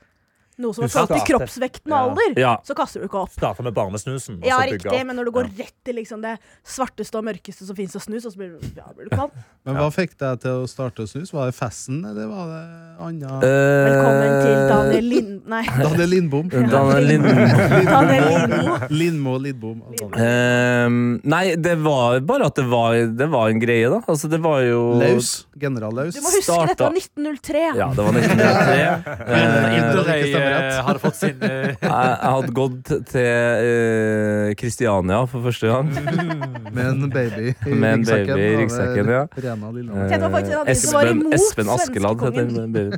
noe som
Du
var forhold til
starter.
kroppsvekten
Ja.
og alder,
ja.
så kaster du ikke opp.
Starta med barnesnusen. og
Ja,
så bygge
riktig,
opp.
men når du går rett til liksom det svarteste og mørkeste som fins av snus, og så blir du, ja, blir du kvalm.
Men hva fikk deg til å starte å snus? Var det festen, eller var det
Eh,
annet?
Velkommen til Daniel Lind... Nei.
Daniel Lindbom.
Daniel Lindbom.
Daniel Lindmo.
Lindmo, Lidbom.
Eh,
alt
Ehm,
sammen.
nei, det var bare at det var, det var en greie, da. Altså, det var jo
Laus. General Laus.
Du må huske dette var 1903.
Ja, det var 1903.
men
Eh,
Inderøy
ikke stemmerett.
eh, hadde fått sin eh,
Jeg, jeg hadde gått til eh, Kristiania for første gang.
eh,
Med en baby i
Med en
ryggsekken.
baby i
over
ryggsekken, ja. Eh,
Rena Lillehammer.
Kjente meg faktisk en av de som var
Espen,
imot
Espen Askeladd heter den
svenskekongen.
babyen.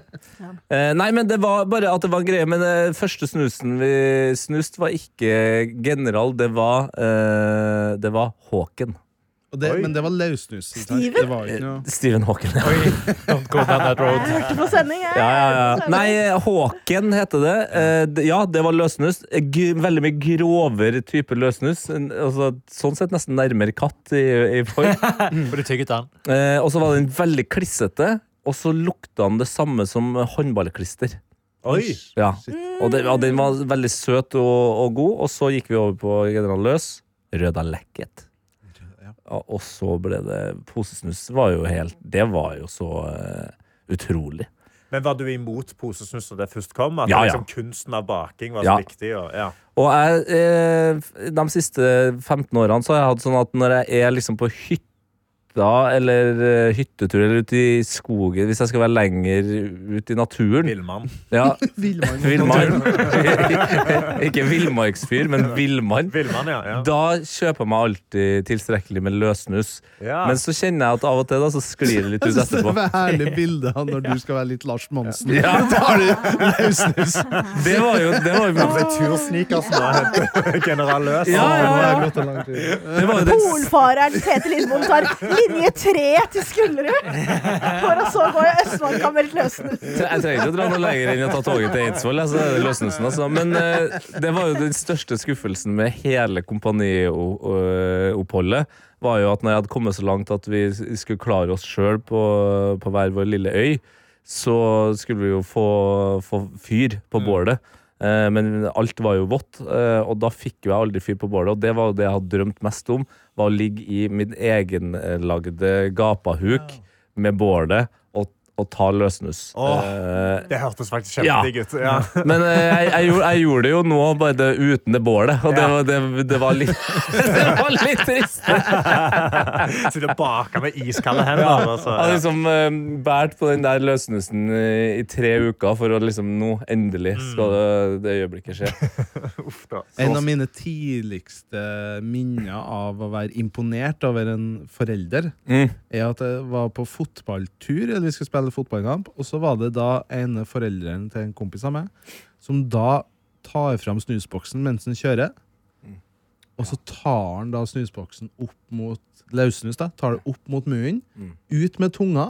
Eh, nei, men det var bare at det var en greie. Men det første snusen vi snust, var ikke general, det var eh, Det var Haaken.
Og det,
Oi.
men det var løssnus. ikke sant?
Steven?
Det var ikke noe
Steven Haaken. Ja,
Oi, don't go down that
Jeg
road.
hørte på sending, jeg.
ja, ja. Nei, Haaken heter det. Eh, det- ja, det var løssnus. Eh, G veldig mye grovere type løssnus. En- Altså, sånn sett nesten nærmere katt i, i form.
For du tygget den.
Eh, og så var den veldig klissete, og så lukta den det samme som håndballklister.
Oi!
Eh, Ja. Og den, ja, den var veldig søt og, og god, og så gikk vi over på General Løs. Røda Lekket. Ja, og så ble det Posesnus var jo helt Det var jo så eh, utrolig.
Men var du imot posesnus når det først kom? At
Ja, ja.
Liksom, kunsten av baking var så
Ja.
viktig? Og, ja.
Og jeg, eh, de siste 15 årene så har jeg hatt sånn at når jeg er liksom på hytta eller eh, hyttetur eller ute i skogen, hvis jeg skal være lenger ute i naturen
Villmann.
ja,
Villmann.
Villmann. Ikke villmarksfyr, men villmann.
Villmann, ja. ja.
Da kjøper jeg meg alltid tilstrekkelig med løssnus.
ja.
Men så kjenner jeg at av og til da, så sklir det litt
Jeg
ut
synes det
etterpå.
var et herlig bilde av når du skal være litt Lars Monsen.
Ja.
Da har du løssnus.
Det var jo, det var jo,
Tursniker som var helt general løs.
Ja, ja,
Nå
ja.
har jeg gått en lang tid.
det var jo den
Polfareren Tete Lindmoen tar linje tre til Skullerud! For å så gå i Østmarka-meldt løsnes.
Jeg trenger ikke å dra noe lenger enn å ta toget til Eidsvoll. Altså, det er løsnelsen, altså. Men eh, det var jo den største skuffelsen med hele kompanioppholdet. Var jo at når jeg hadde kommet så langt at vi skulle klare oss sjøl på, på hver vår lille øy, så skulle vi jo få, få fyr på bålet. Eh, Men alt var jo vått, eh, og da fikk jo jeg aldri fyr på bålet. Og det var jo det jeg hadde drømt mest om, var å ligge i min egenlagde gapahuk med bålet og, og ta løssnus.
Åh.
Eh,
Det hørtes faktisk
Ja.
kjempedigg ut. Ja.
men eh, jeg, jeg, gjorde, jeg gjorde det jo nå, bare det, uten det bålet. Og det,
Ja.
var- det, det var litt Det var litt trist. Jeg
Sitter og baker med iskalde hender. Altså.
hadde
Ja.
liksom eh, båret på den der løsnusen i, i tre uker for å liksom Nå, endelig, skal det, det øyeblikket skje.
Uff, da.
En av mine tidligste minner av å være imponert over en forelder,
Mm.
er at jeg var på fotballtur, eller vi skulle spille fotballkamp, og så var det da ene forelderen til en kompis av meg, som da tar fram snusboksen mens han kjører, og så tar han da snusboksen opp mot løssnus, da, tar det opp mot munnen, ut med tunga,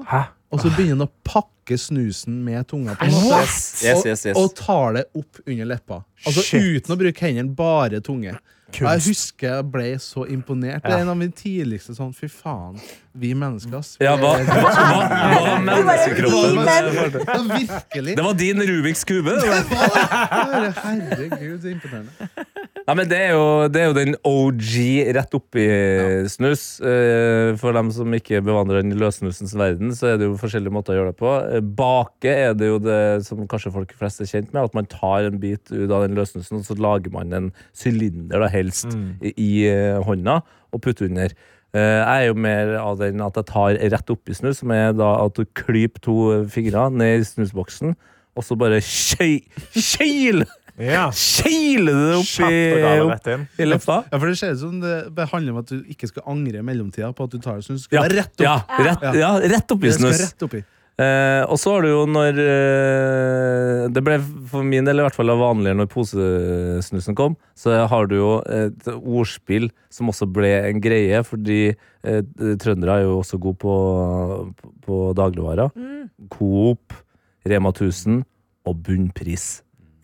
og så begynner han å pakke snusen med tunga på en måte.
Yes, yes, yes.
Og, og tar det opp under leppa. Altså
Shit.
Uten å bruke hendene, bare tunge. Og Jeg husker jeg ble så imponert. Det er en av mine tidligste sånn Fy faen, vi mennesker, ass.
Ja, hva, hva, hva, hva
Vi
menneskekroppen
menn.
Ja, virkelig.
Det var din Rubiks kube. det var-
Bare, Herregud, så imponerende.
Nei, men det er, jo, det er jo den OG rett oppi snus. Eh, For dem som ikke bevandrer den i løssnusens verden, så er det jo forskjellige måter å gjøre det på. Eh, Bake er det jo det som kanskje folk flest er kjent med, at man tar en bit ut av den løssnusen, og så lager man en sylinder, da helst, i, i eh, hånda og putter under. Eh, Jeg er jo mer av den at jeg tar rett oppi snus, som er da at du klyper to fingre ned i snusboksen, og så bare kjøy, kjøyler
Ja.
Kjeiler du det
Kjapt og gale
oppi
rett inn.
i leppa?
Ja, for Det ser ut som det bare handler om at du ikke skal angre i mellomtida på at du tar det. Så du skal
Ja,
rett opp.
Ja, rett,
Ja.
ja, rett oppi
Det skal
snus.
rett oppi.
Eh, og så har du jo når eh, Det ble for min del i hvert fall vanligere når posesnusen kom. Så har du jo et ordspill som også ble en greie, fordi eh, trøndere er jo også gode på, på dagligvarer. Coop, Rema 1000 og bunnpris.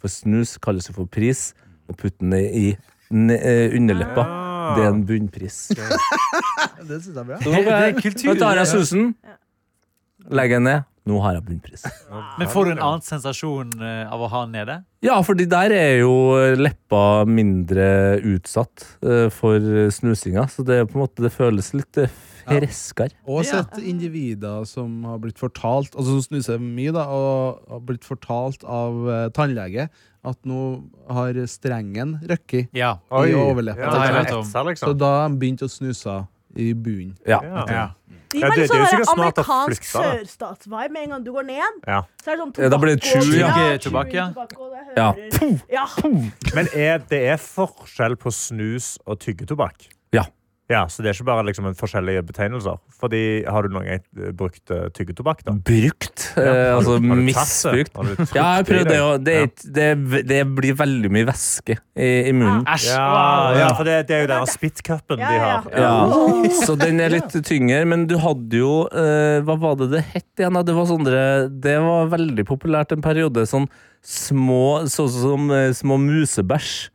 For snus kalles jo for pris, og putter den i ne- eh, underleppa. Det er en bunnpris.
Det synes jeg er bra.
Så nå går jeg- Nå tar jeg snusen, legger den ned. Nå har jeg bunnpris.
Men får du en annen sensasjon eh, av å ha den nede?
Ja, fordi der er jo leppa mindre utsatt eh, for snusinga, så det er på en måte, det føles litt eh, freskere.
Og sett individer som har blitt fortalt Altså som snuser mye da Og har blitt fortalt av eh, tannlege At nå har strengen røkket
Ja.
I
Ja,
overleppa
det har jeg
det
hørt
er
om.
etsa,
Så
liksom.
da har de begynt å snuse i bunnen
Ja.
Ja.
De
Ja,
var
det- det er
litt
jo
sånn
sikkert snart å
amerikansk
flytte, da.
sørstatsvibe. Med en gang du går ned,
Ja.
så er det sånn
Ja, da blir det
tobakk og-
chew,
ja.
Ja,
Tobakk, ja.
tobakk, og det
Ja.
hører- ja.
Men er, det er forskjell på snus og tyggetobakk?
Ja.
Ja, Så det er ikke bare liksom, en forskjellige betegnelser? Fordi Har du noen gang eh, brukt eh, tyggetobakk? da?
Brukt. Eh,
Ja, har du-
altså
har du tatt det?
misbrukt.
Har du trykt
Ja, jeg
i
prøvde det,
deg?
og det, er ikke- det, det blir veldig mye væske i, i munnen.
Æsj!
Ja,
wow.
ja, for det, det er jo den spyttcupen
Ja,
de
ja,
har.
ja.
Ja, så den er litt tyngre, men du hadde jo eh, Hva var det det het igjen? da? Det var, sånne, det var veldig populært en periode. Sånn små, sånn som eh, små musebæsj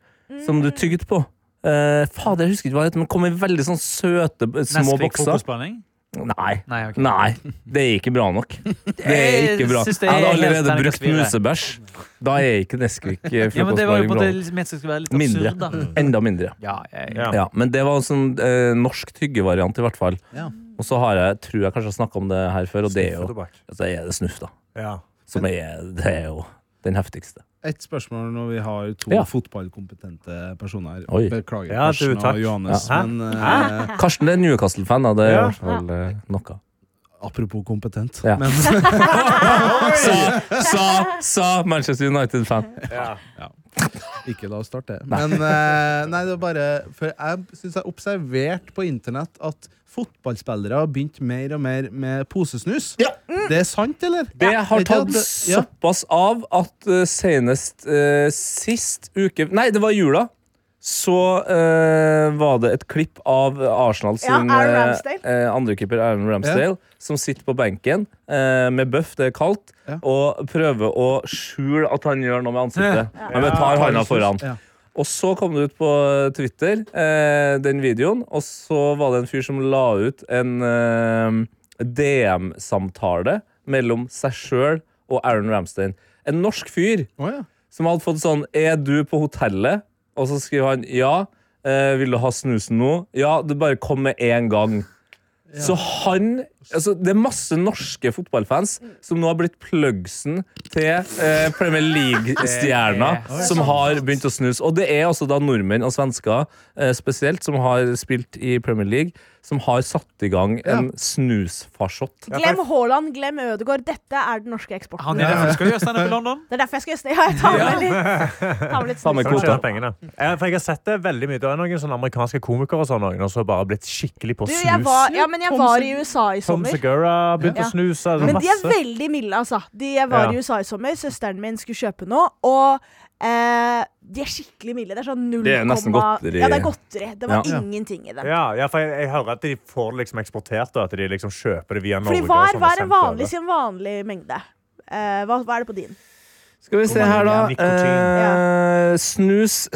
som du tygde på. Eh, fader, jeg husker ikke hva det het, men kom i veldig sånn søte eh, små
Nesquik
bokser.
frokostblanding?
Nei.
Nei, ok.
Nei, det er ikke bra nok. Det er ikke bra.
synes det
Jeg
er
hadde
helt
allerede brukt
terningkast fire.
musebæsj. Da er ikke Nesquik eh,
Ja, men det var jo
frokostbaring
på
bra.
det liksom, mente skulle være litt
Mindre.
absurd, da.
Enda mindre.
Ja, jeg,
Ja.
Ja, men det var en sånn eh, norsk tyggevariant i hvert fall.
Ja.
Og så har jeg, tror jeg kanskje jeg har snakka om det her før, og det er jo
Snuffetobakk.
altså, er det snuff, da.
Ja.
Som er, det er jo den heftigste.
Et spørsmål når vi har to
Ja.
fotballkompetente personer her.
Oi.
Beklager,
Ja, du,
Karsten
takk.
og Johannes.
Ja. Hæ?
Men eh,
Karsten er Newcastle-fan, da. Det er i
Ja.
hvert fall eh, noe.
apropos kompetent.
Ja.
Men,
Sa, sa, sa Manchester United-fan.
ikke la oss starte. Men eh, nei, det var bare For jeg syns jeg observerte på internett at fotballspillere har begynt mer og mer med posesnus.
Mm.
Det er sant, eller?
Det har
Vet du
tatt
at det- ja.
såpass av at eh, senest eh, sist uke Nei, det var jula. Så eh, var det et klipp av Arsenal
Ja,
sin
Aaron
eh,
Ramsdale.
eh, andrekeeper Aaron Ramsdale, som sitter på benken eh, med bøff, det er kaldt,
Ja.
og prøver å skjule at han gjør noe med ansiktet. Han bare tar handa foran.
Ja.
Og så kom det ut på Twitter, eh, den videoen, og så var det en fyr som la ut en eh, DM-samtale mellom seg sjøl og Aaron Ramstein. En norsk fyr
Å, ja.
som hadde fått sånn Er du på hotellet? Og så skriver han ja. Eh, vil du ha snusen nå? Ja, du bare kom med én gang. Så han altså Det er masse norske fotballfans som nå har blitt plugsen til eh, Premier League-stjerna som har begynt å snus. Og det er altså da nordmenn og svensker eh, spesielt som har spilt i Premier League, som har satt i gang en snusfarsott.
Glem Haaland, glem Ødegaard. Dette er den norske eksporten.
Han er derfor skal gjøre standup i London.
Det er derfor jeg skal gjeste. Ja, jeg tar med litt, tar med litt
Ta med
snus.
kvote.
Tjene pengene. Eh, For jeg har sett det veldig mye. Det er noen sånne amerikanske komikere og sånn, noen, og så bare blitt skikkelig på
Du,
snus.
jeg var, ja, men jeg var i USA i
Tom
sommer.
Segura begynte
Ja.
å snuse. altså,
Men de er
masse.
veldig milde, altså. De jeg var
Ja.
i USA i sommer. Søsteren min skulle kjøpe noe, og eh, de er skikkelig milde. Det er sånn null
Det er nesten
komma-
godteri.
Ja, det er godteri. Det var
Ja.
ingenting i dem.
Ja, ja, for jeg, jeg hører at de får det liksom eksportert, og at de liksom kjøper det via
For
Norge.
de
og
var,
sånn, og
var en
sendt over.
vanlig sin vanlige mengde. Eh, hva, hva er det på din?
Skal vi se
Hvor mange
her, da.
gram
Eh, snus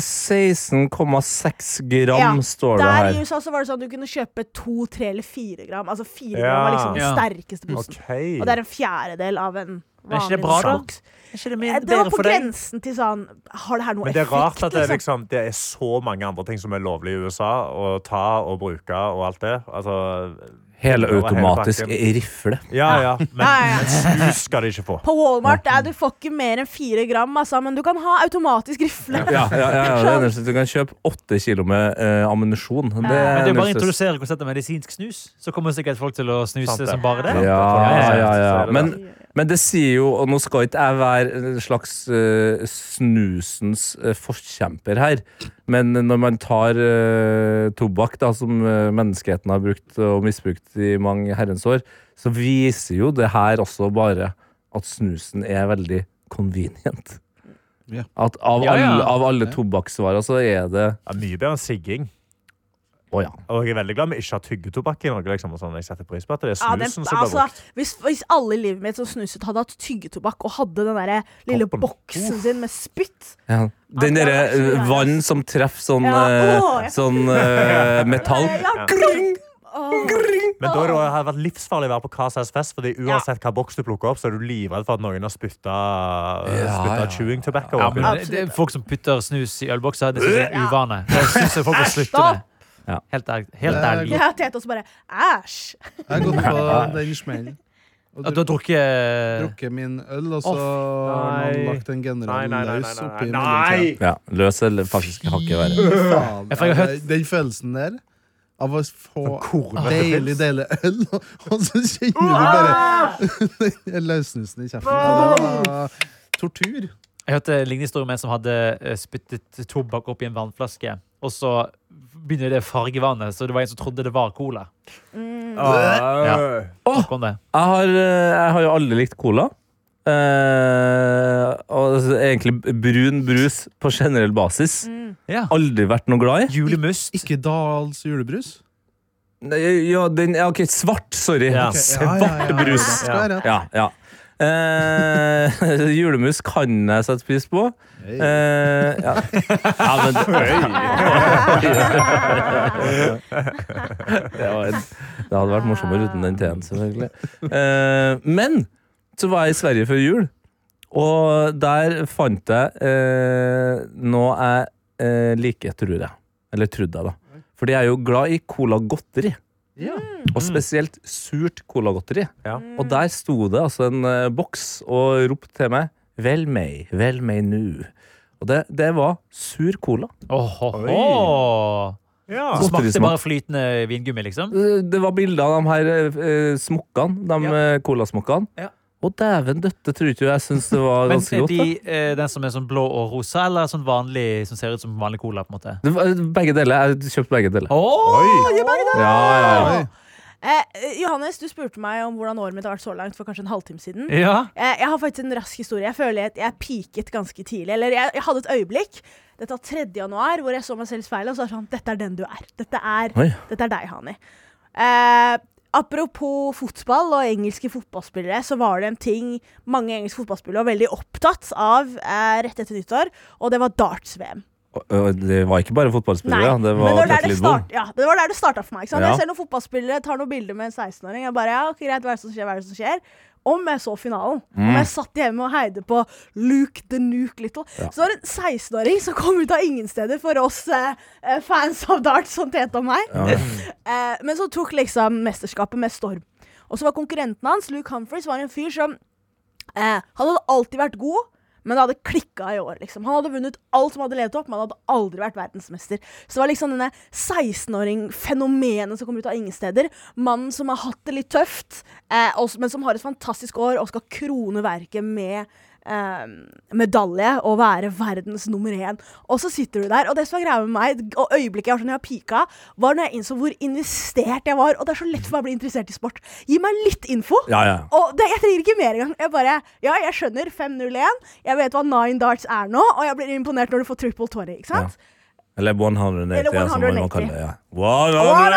16,6 gram,
Ja,
står det
Der
her.
i USA så var det sånn at du kunne kjøpe to, tre eller fire gram. Altså fire
Ja.
gram var liksom den
Ja.
sterkeste posen.
Ok.
Og det er en fjerdedel av en
Er ikke
vanlig
det bra, da?
boks.
Er ikke det
Eh, Det var på grensen til sånn Har det her noe
Men det er rart
effekt,
at det er,
liksom?
liksom, det er så mange andre ting som er lovlig i USA å ta og bruke og alt det. Altså,
Helautomatisk
Hele
rifle.
ja, ja, men
Ja, ja, ja.
snus skal de ikke få.
På Walmart er du får ikke mer enn fire gram, altså, men du kan ha automatisk rifle.
Ja, ja, ja, ja, det er eneste. Du kan kjøpe åtte kilo med eh, ammunisjon. Det
Men
er
det er bare å
eneste.
introdusere konseptet medisinsk snus, så kommer sikkert folk til å snuse
Sant det.
som bare det.
Ja, ja, ja, ja. Men,
Ja.
men det sier jo Og nå skal ikke jeg være en slags eh, snusens eh, forkjemper her, men når man tar eh, tobakk, da, som eh, menneskeheten har brukt og misbrukt i mange herrens år, så viser jo det her også bare at snusen er veldig convenient.
Ja.
At av,
Ja, ja.
Alle, av alle tobakksvarer så er det
Ja, mye bedre enn sigging.
Å ja.
Og jeg er veldig glad vi ikke har tyggetobakk i Norge. Liksom, og sånn. Jeg setter pris på at det er
Ja, den,
snusen som blir
altså,
brukt.
hvis, hvis alle i livet mitt som snuset, hadde hatt tyggetobakk og hadde den der eh, lille
Toppen.
boksen sin med spytt
Ja. Den
Ja, det
derre
er veldig
eh, vann som treffer sånn,
Ja,
eh,
å, jeg-
sånn eh, metall.
Ja. Gring! Åh.
Men da er det jo- hadde det vært livsfarlig å være på hva som helst fest, Fordi uansett hva boks du plukker opp, så er du livredd for at noen har spytta
ja.
chewing tobacco.
Ja,
oppi
men
det.
det- det er folk som putter snus i ølbokser, det synes jeg er uvane. Det synes jeg folk må slutte med.
Ja.
Helt ærlig. Helt
Det er
ærlig.
godt.
Ja, Tete også bare Æsj!
Jeg har gått på den smellen. Og
At du har drukket eh,
drukket min øl, og så
Off,
har
nei.
noen lagt en
Nei,
general
nei, nei,
løs
nei,
oppi
nei,
mellomtida.
nei.
Ja, løs eller faktisk hakket verre.
Faen,
Jeg får jo
ja,
hørt-
Den følelsen der av å få
Kornete
deilig,
pils.
deilig øl, og så kjenner du bare den løssnusen i kjeften. Og Det var tortur.
Jeg hørte en lignende historie om en som hadde eh, spyttet tobakk opp i en vannflaske. Og så begynner det å farge vannet, så det var en som trodde det var cola.
Mm.
Ja.
Snakk om det.
Jeg har, eh, jeg har jo aldri likt cola. Eh, og altså, egentlig brun brus på generell basis.
Ja.
Aldri vært noe glad i.
Julemust.
Ikke Dahls julebrus.
Nei, Ja, den, ja, OK, svart. Sorry.
Ja.
Ok,
Svart
ja, ja, ja, ja.
brus.
Det skal være rett.
Ja, ja. Eh, julemus kan jeg sette pris på. Eh, ja. ja, men det, var en, det hadde vært morsommere uten den teen, selvfølgelig. Eh, men så var jeg i Sverige før jul, og der fant jeg eh, noe jeg eh, liker, tror jeg. Eller trodde jeg, da. Fordi jeg er jo glad i cola godteri.
Ja.
Og spesielt surt colagodteri.
Ja.
Og der sto det altså en eh, boks og ropte til meg 'Vel meg, vel meg nu'. Og det, det var sur cola.
Ohoho.
Ja.
Så
Godteri
smakte
smak.
bare flytende vingummi, liksom?
Eh, Det var bilder av de her eh, smokkene, de
Ja.
eh, colasmokkene.
Ja.
Og dæven døtte, tror ikke du jeg syns det var
Men
ganske
er
godt.
de,
da.
eh, den som er sånn blå og rosa, eller sånn vanlig som ser ut som vanlig cola? på en måte?
Det var eh, begge deler. Jeg kjøpte begge deler.
Oh,
Ja, ja, ja.
Oi.
Eh, Johannes, du spurte meg om hvordan året mitt har vært så langt for kanskje en halvtime siden.
ja.
Eh, jeg har faktisk en rask historie. Jeg føler at jeg peaket ganske tidlig. Eller jeg, jeg hadde et øyeblikk. Dette var 3. januar, hvor jeg så meg selv i speilet og så var det sånn Dette er den du er. Dette er,
Oi.
dette er deg, Hani. Eh, apropos fotball og engelske fotballspillere, så var det en ting mange engelske fotballspillere var veldig opptatt av eh, rett etter nyttår, og det var darts-VM.
Og- og Det var ikke bare
Nei,
fotballspillere. Det
men
var
det var der det,
Atle Lidbom.
start, ja, det var der det starta for meg. Ikke sant?
Ja.
Jeg ser noen fotballspillere tar noen bilder med en 16-åring. Jeg bare, ja, ok, greit, hva er det som skjer, hva er det som skjer? Om jeg så finalen.
Mm.
Om jeg satt hjemme og heide på Luke the Nuke Little. Så var det en 16-åring som kom ut av ingen steder for oss eh, eh, fans av darts som tete om meg. Eh, men så tok liksom mesterskapet med storm. Og så var konkurrenten hans, Luke Humphries, var en fyr som eh, Han hadde alltid vært god, men det hadde klikka i år. liksom. Han hadde vunnet alt som hadde levd opp, men han hadde aldri vært verdensmester. Så det var liksom denne 16-åring-fenomenet som kommer ut av ingen steder. Mannen som har hatt det litt tøft, eh, og s- men som har et fantastisk år og skal krone verket med eh, medalje og være verdens nummer én. Og så sitter du der, og det som er greia med meg, og øyeblikket jeg var sånn jeg har pika, var når jeg innså hvor investert jeg var. Og det er så lett for meg å bli interessert i sport. Gi meg litt info.
Ja, ja.
Og det, jeg trenger ikke mer engang. Jeg bare, ja, jeg skjønner 501. Jeg vet hva nine darts er nå, og jeg blir imponert når du får triple twenty. Ikke sant?
Eller 180,
Eller
ja, som man
180.
kaller det. Ja.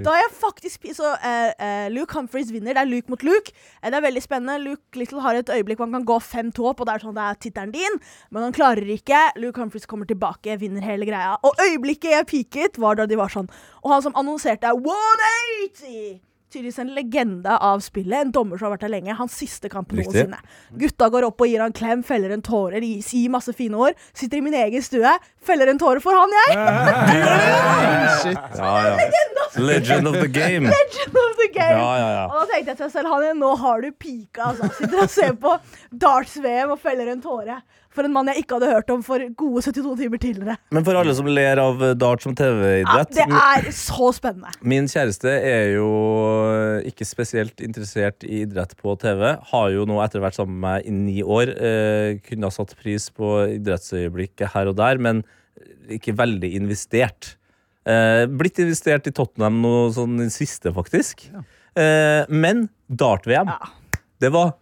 180!
da jeg faktisk Så eh, eh, Luke Humphries vinner. Det er Luke mot Luke. Eh, det er veldig spennende. Luke Little har et øyeblikk hvor han kan gå fem tå opp, og det er sånn det er tittelen din, men han klarer ikke. Luke Humphries kommer tilbake, vinner hele greia. Og øyeblikket jeg peaket, var da de var sånn. Og han som annonserte, er 180! Tydeligvis en legende av spillet. En dommer som har vært der lenge. Hans siste kamp
Riktig.
noensinne. Gutta går opp og gir han klem, feller en tåre, de sier masse fine ord. Sitter i min egen stue, feller en tåre for han, jeg!
Ja, ja. Legend of the game.
Legend of the game!
Ja, ja, ja.
Og da tenkte jeg til meg selv Hanne, nå har du pika. Altså. Sitter og ser på darts-VM og feller en tåre for en mann jeg ikke hadde hørt om for gode 72 timer tidligere.
Men for alle som ler av eh, dart som
Ja,
TV-idrett
det er så spennende.
Min kjæreste er jo ikke spesielt interessert i idrett på TV. Har jo nå etter hvert sammen med meg i ni år eh, kunne ha satt pris på idrettsøyeblikket her og der, men ikke veldig investert. Eh, blitt investert i Tottenham nå sånn i siste, faktisk. Eh, men dart-VM, det, var,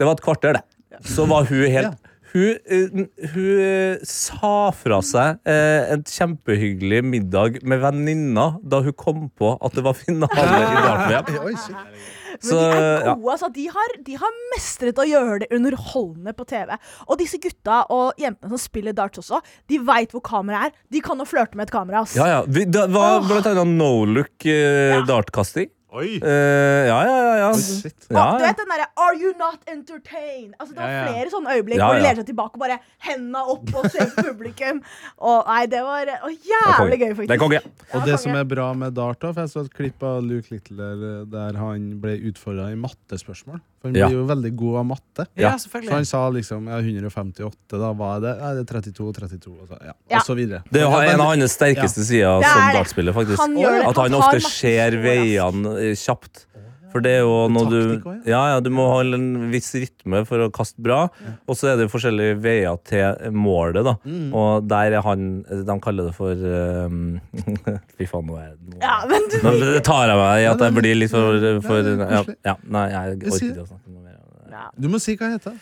det var et kvarter, det. Så var hun helt Hun, eh, hun eh, sa fra seg eh, en kjempehyggelig middag med venninna da hun kom på at det var finale i dart-VM.
Oi, shit.
Men de er
ja.
gode, altså. De har, de har mestret å gjøre det underholdende på TV. Og disse gutta og jentene som spiller darts også, de veit hvor kameraet er. De kan å flørte med et kamera. ass.
Ja, ja. Vi- Det var blant annet no look eh, dartkasting.
Oi.
Eh, ja, ja, ja. ja.
shit.
ja,
Og
ja.
du vet den derre 'Are you not entertained?' Altså, det var
Ja, ja.
flere sånne øyeblikk
Ja,
hvor de
ja.
lener seg tilbake og bare henda opp og ser på publikum. Og nei, det var å,
konge.
jævlig gøy, faktisk.
Det er konge.
Og det som er bra med Dart, da, for jeg så et klipp av Luke Little der, der han ble utfordra i mattespørsmål. For han
Ja.
blir jo veldig god av matte.
Ja.
Så han sa liksom ja, 158, da hva er det? Ja, det er 32, 32, og så, ja.
Ja.
Og så videre.
Det er jo
Han
en
veldig-
av hans sterkeste sider
Det er
som
det.
dartspiller, faktisk.
Han gjør det.
At han
Han
ofte
tar masse
ser
sår,
veiene eh, kjapt. For det er jo når du
Taktikk også,
ja, ja, Du må holde en viss rytme for å kaste bra, og så er det forskjellige veier til målet, da. Og der er han De kaller det for eh, Fy faen, nå er nå-
Ja, men du,
Nå det tar jeg meg i at jeg blir litt for, for
Nei, det er
ja,
koselig.
ja, Nei, jeg
Jeg
orker
sier-
ikke å snakke noe mer. om det.
ja,
Du må si hva han heter.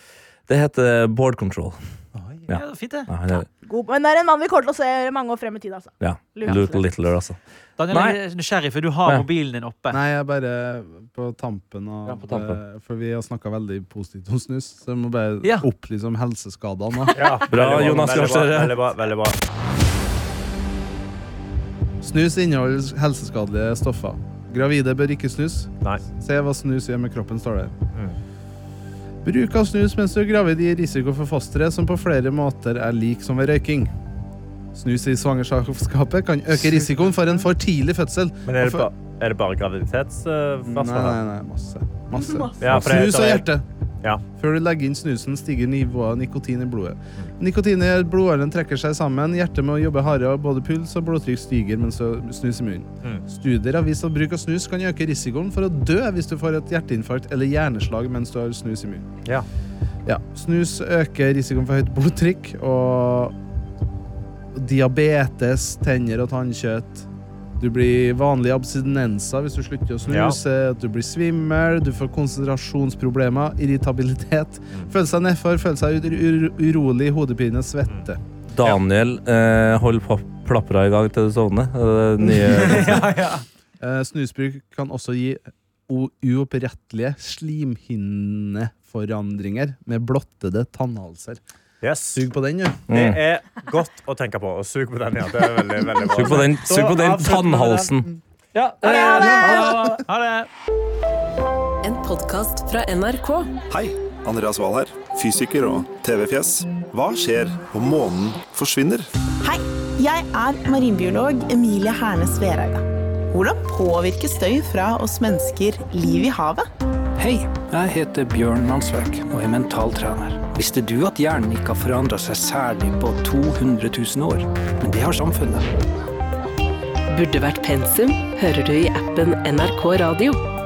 Det heter board control.
ja, det er fint, det.
Ja, han er-
god, men det er en mann vi kommer til å se mange år frem i tid, altså.
ja.
Luke
Luke Littler, altså.
Daniel, jeg er nysgjerrig, for du har
Ja.
mobilen din oppe.
Nei, jeg er bare på tampen av
Ja, på tampen.
eh, For vi har snakka veldig positivt om snus, så jeg må bare
Ja.
opplyse om helseskadene. da.
Ja, veldig
Jonas
veldig bra,
Gahr Støre.
Veldig bra. veldig bra
Snus inneholder helseskadelige stoffer. Gravide bør ikke snus.
Nei.
Se hva snus gjør med kroppen, står det. Bruk av snus mens du er gravid gir risiko for fosteret, som på flere måter er lik som ved røyking. Snus i svangerskapet kan øke risikoen for en for tidlig fødsel.
Men er det,
Hvorfor-
ba, er det bare
Nei, nei,
graviditetsvarsler?
nei, masse. masse.
Ja, for det
Snus og
heter-
hjerte.
Ja.
Før du legger inn snusen, stiger nivået av nikotin i blodet. Nikotin i blodåren trekker seg sammen, hjertet må jobbe hardere, og både puls og blodtrykk stiger mens du snus i munnen.
Mm.
Studier har vist at bruk av snus kan øke risikoen for å dø hvis du får et hjerteinfarkt eller hjerneslag mens du har snus i munnen.
Ja.
Ja, Snus øker risikoen for høyt blodtrykk og diabetes, tenner og tannkjøtt. Du blir vanlige abstinenser hvis du slutter å snuse. at Du blir svimmel, du får konsentrasjonsproblemer, irritabilitet. Føle seg nedfor, føle seg ur ur urolig, hodepine, svette.
Daniel, eh, hold pa- plapra i gang til du sovner. Eh, nye-
Eh, snusbruk kan også gi o- uopprettelige slimhinneforandringer med blottede tannhalser.
Yes.
Sug på den, du.
Det
Mm.
er godt å tenke på. Og sug på den, ja. Det er veldig, veldig bra.
Sug på den, sug på den tannhalsen.
Ja, eh, ha det! Ha det.
En podkast fra NRK.
Hei, Andreas Wahl her, fysiker og TV-fjes. Hva skjer om månen forsvinner?
Hei, jeg er marinbiolog Emilie Hernes Vereide. Hvordan påvirker støy fra oss mennesker liv i havet?
Hei, jeg heter Bjørn Mansverk og er mentaltrener. Visste du at hjernen ikke har forandra seg særlig på 200 000 år? Men det har samfunnet.
Burde vært pensum, hører du i appen NRK Radio.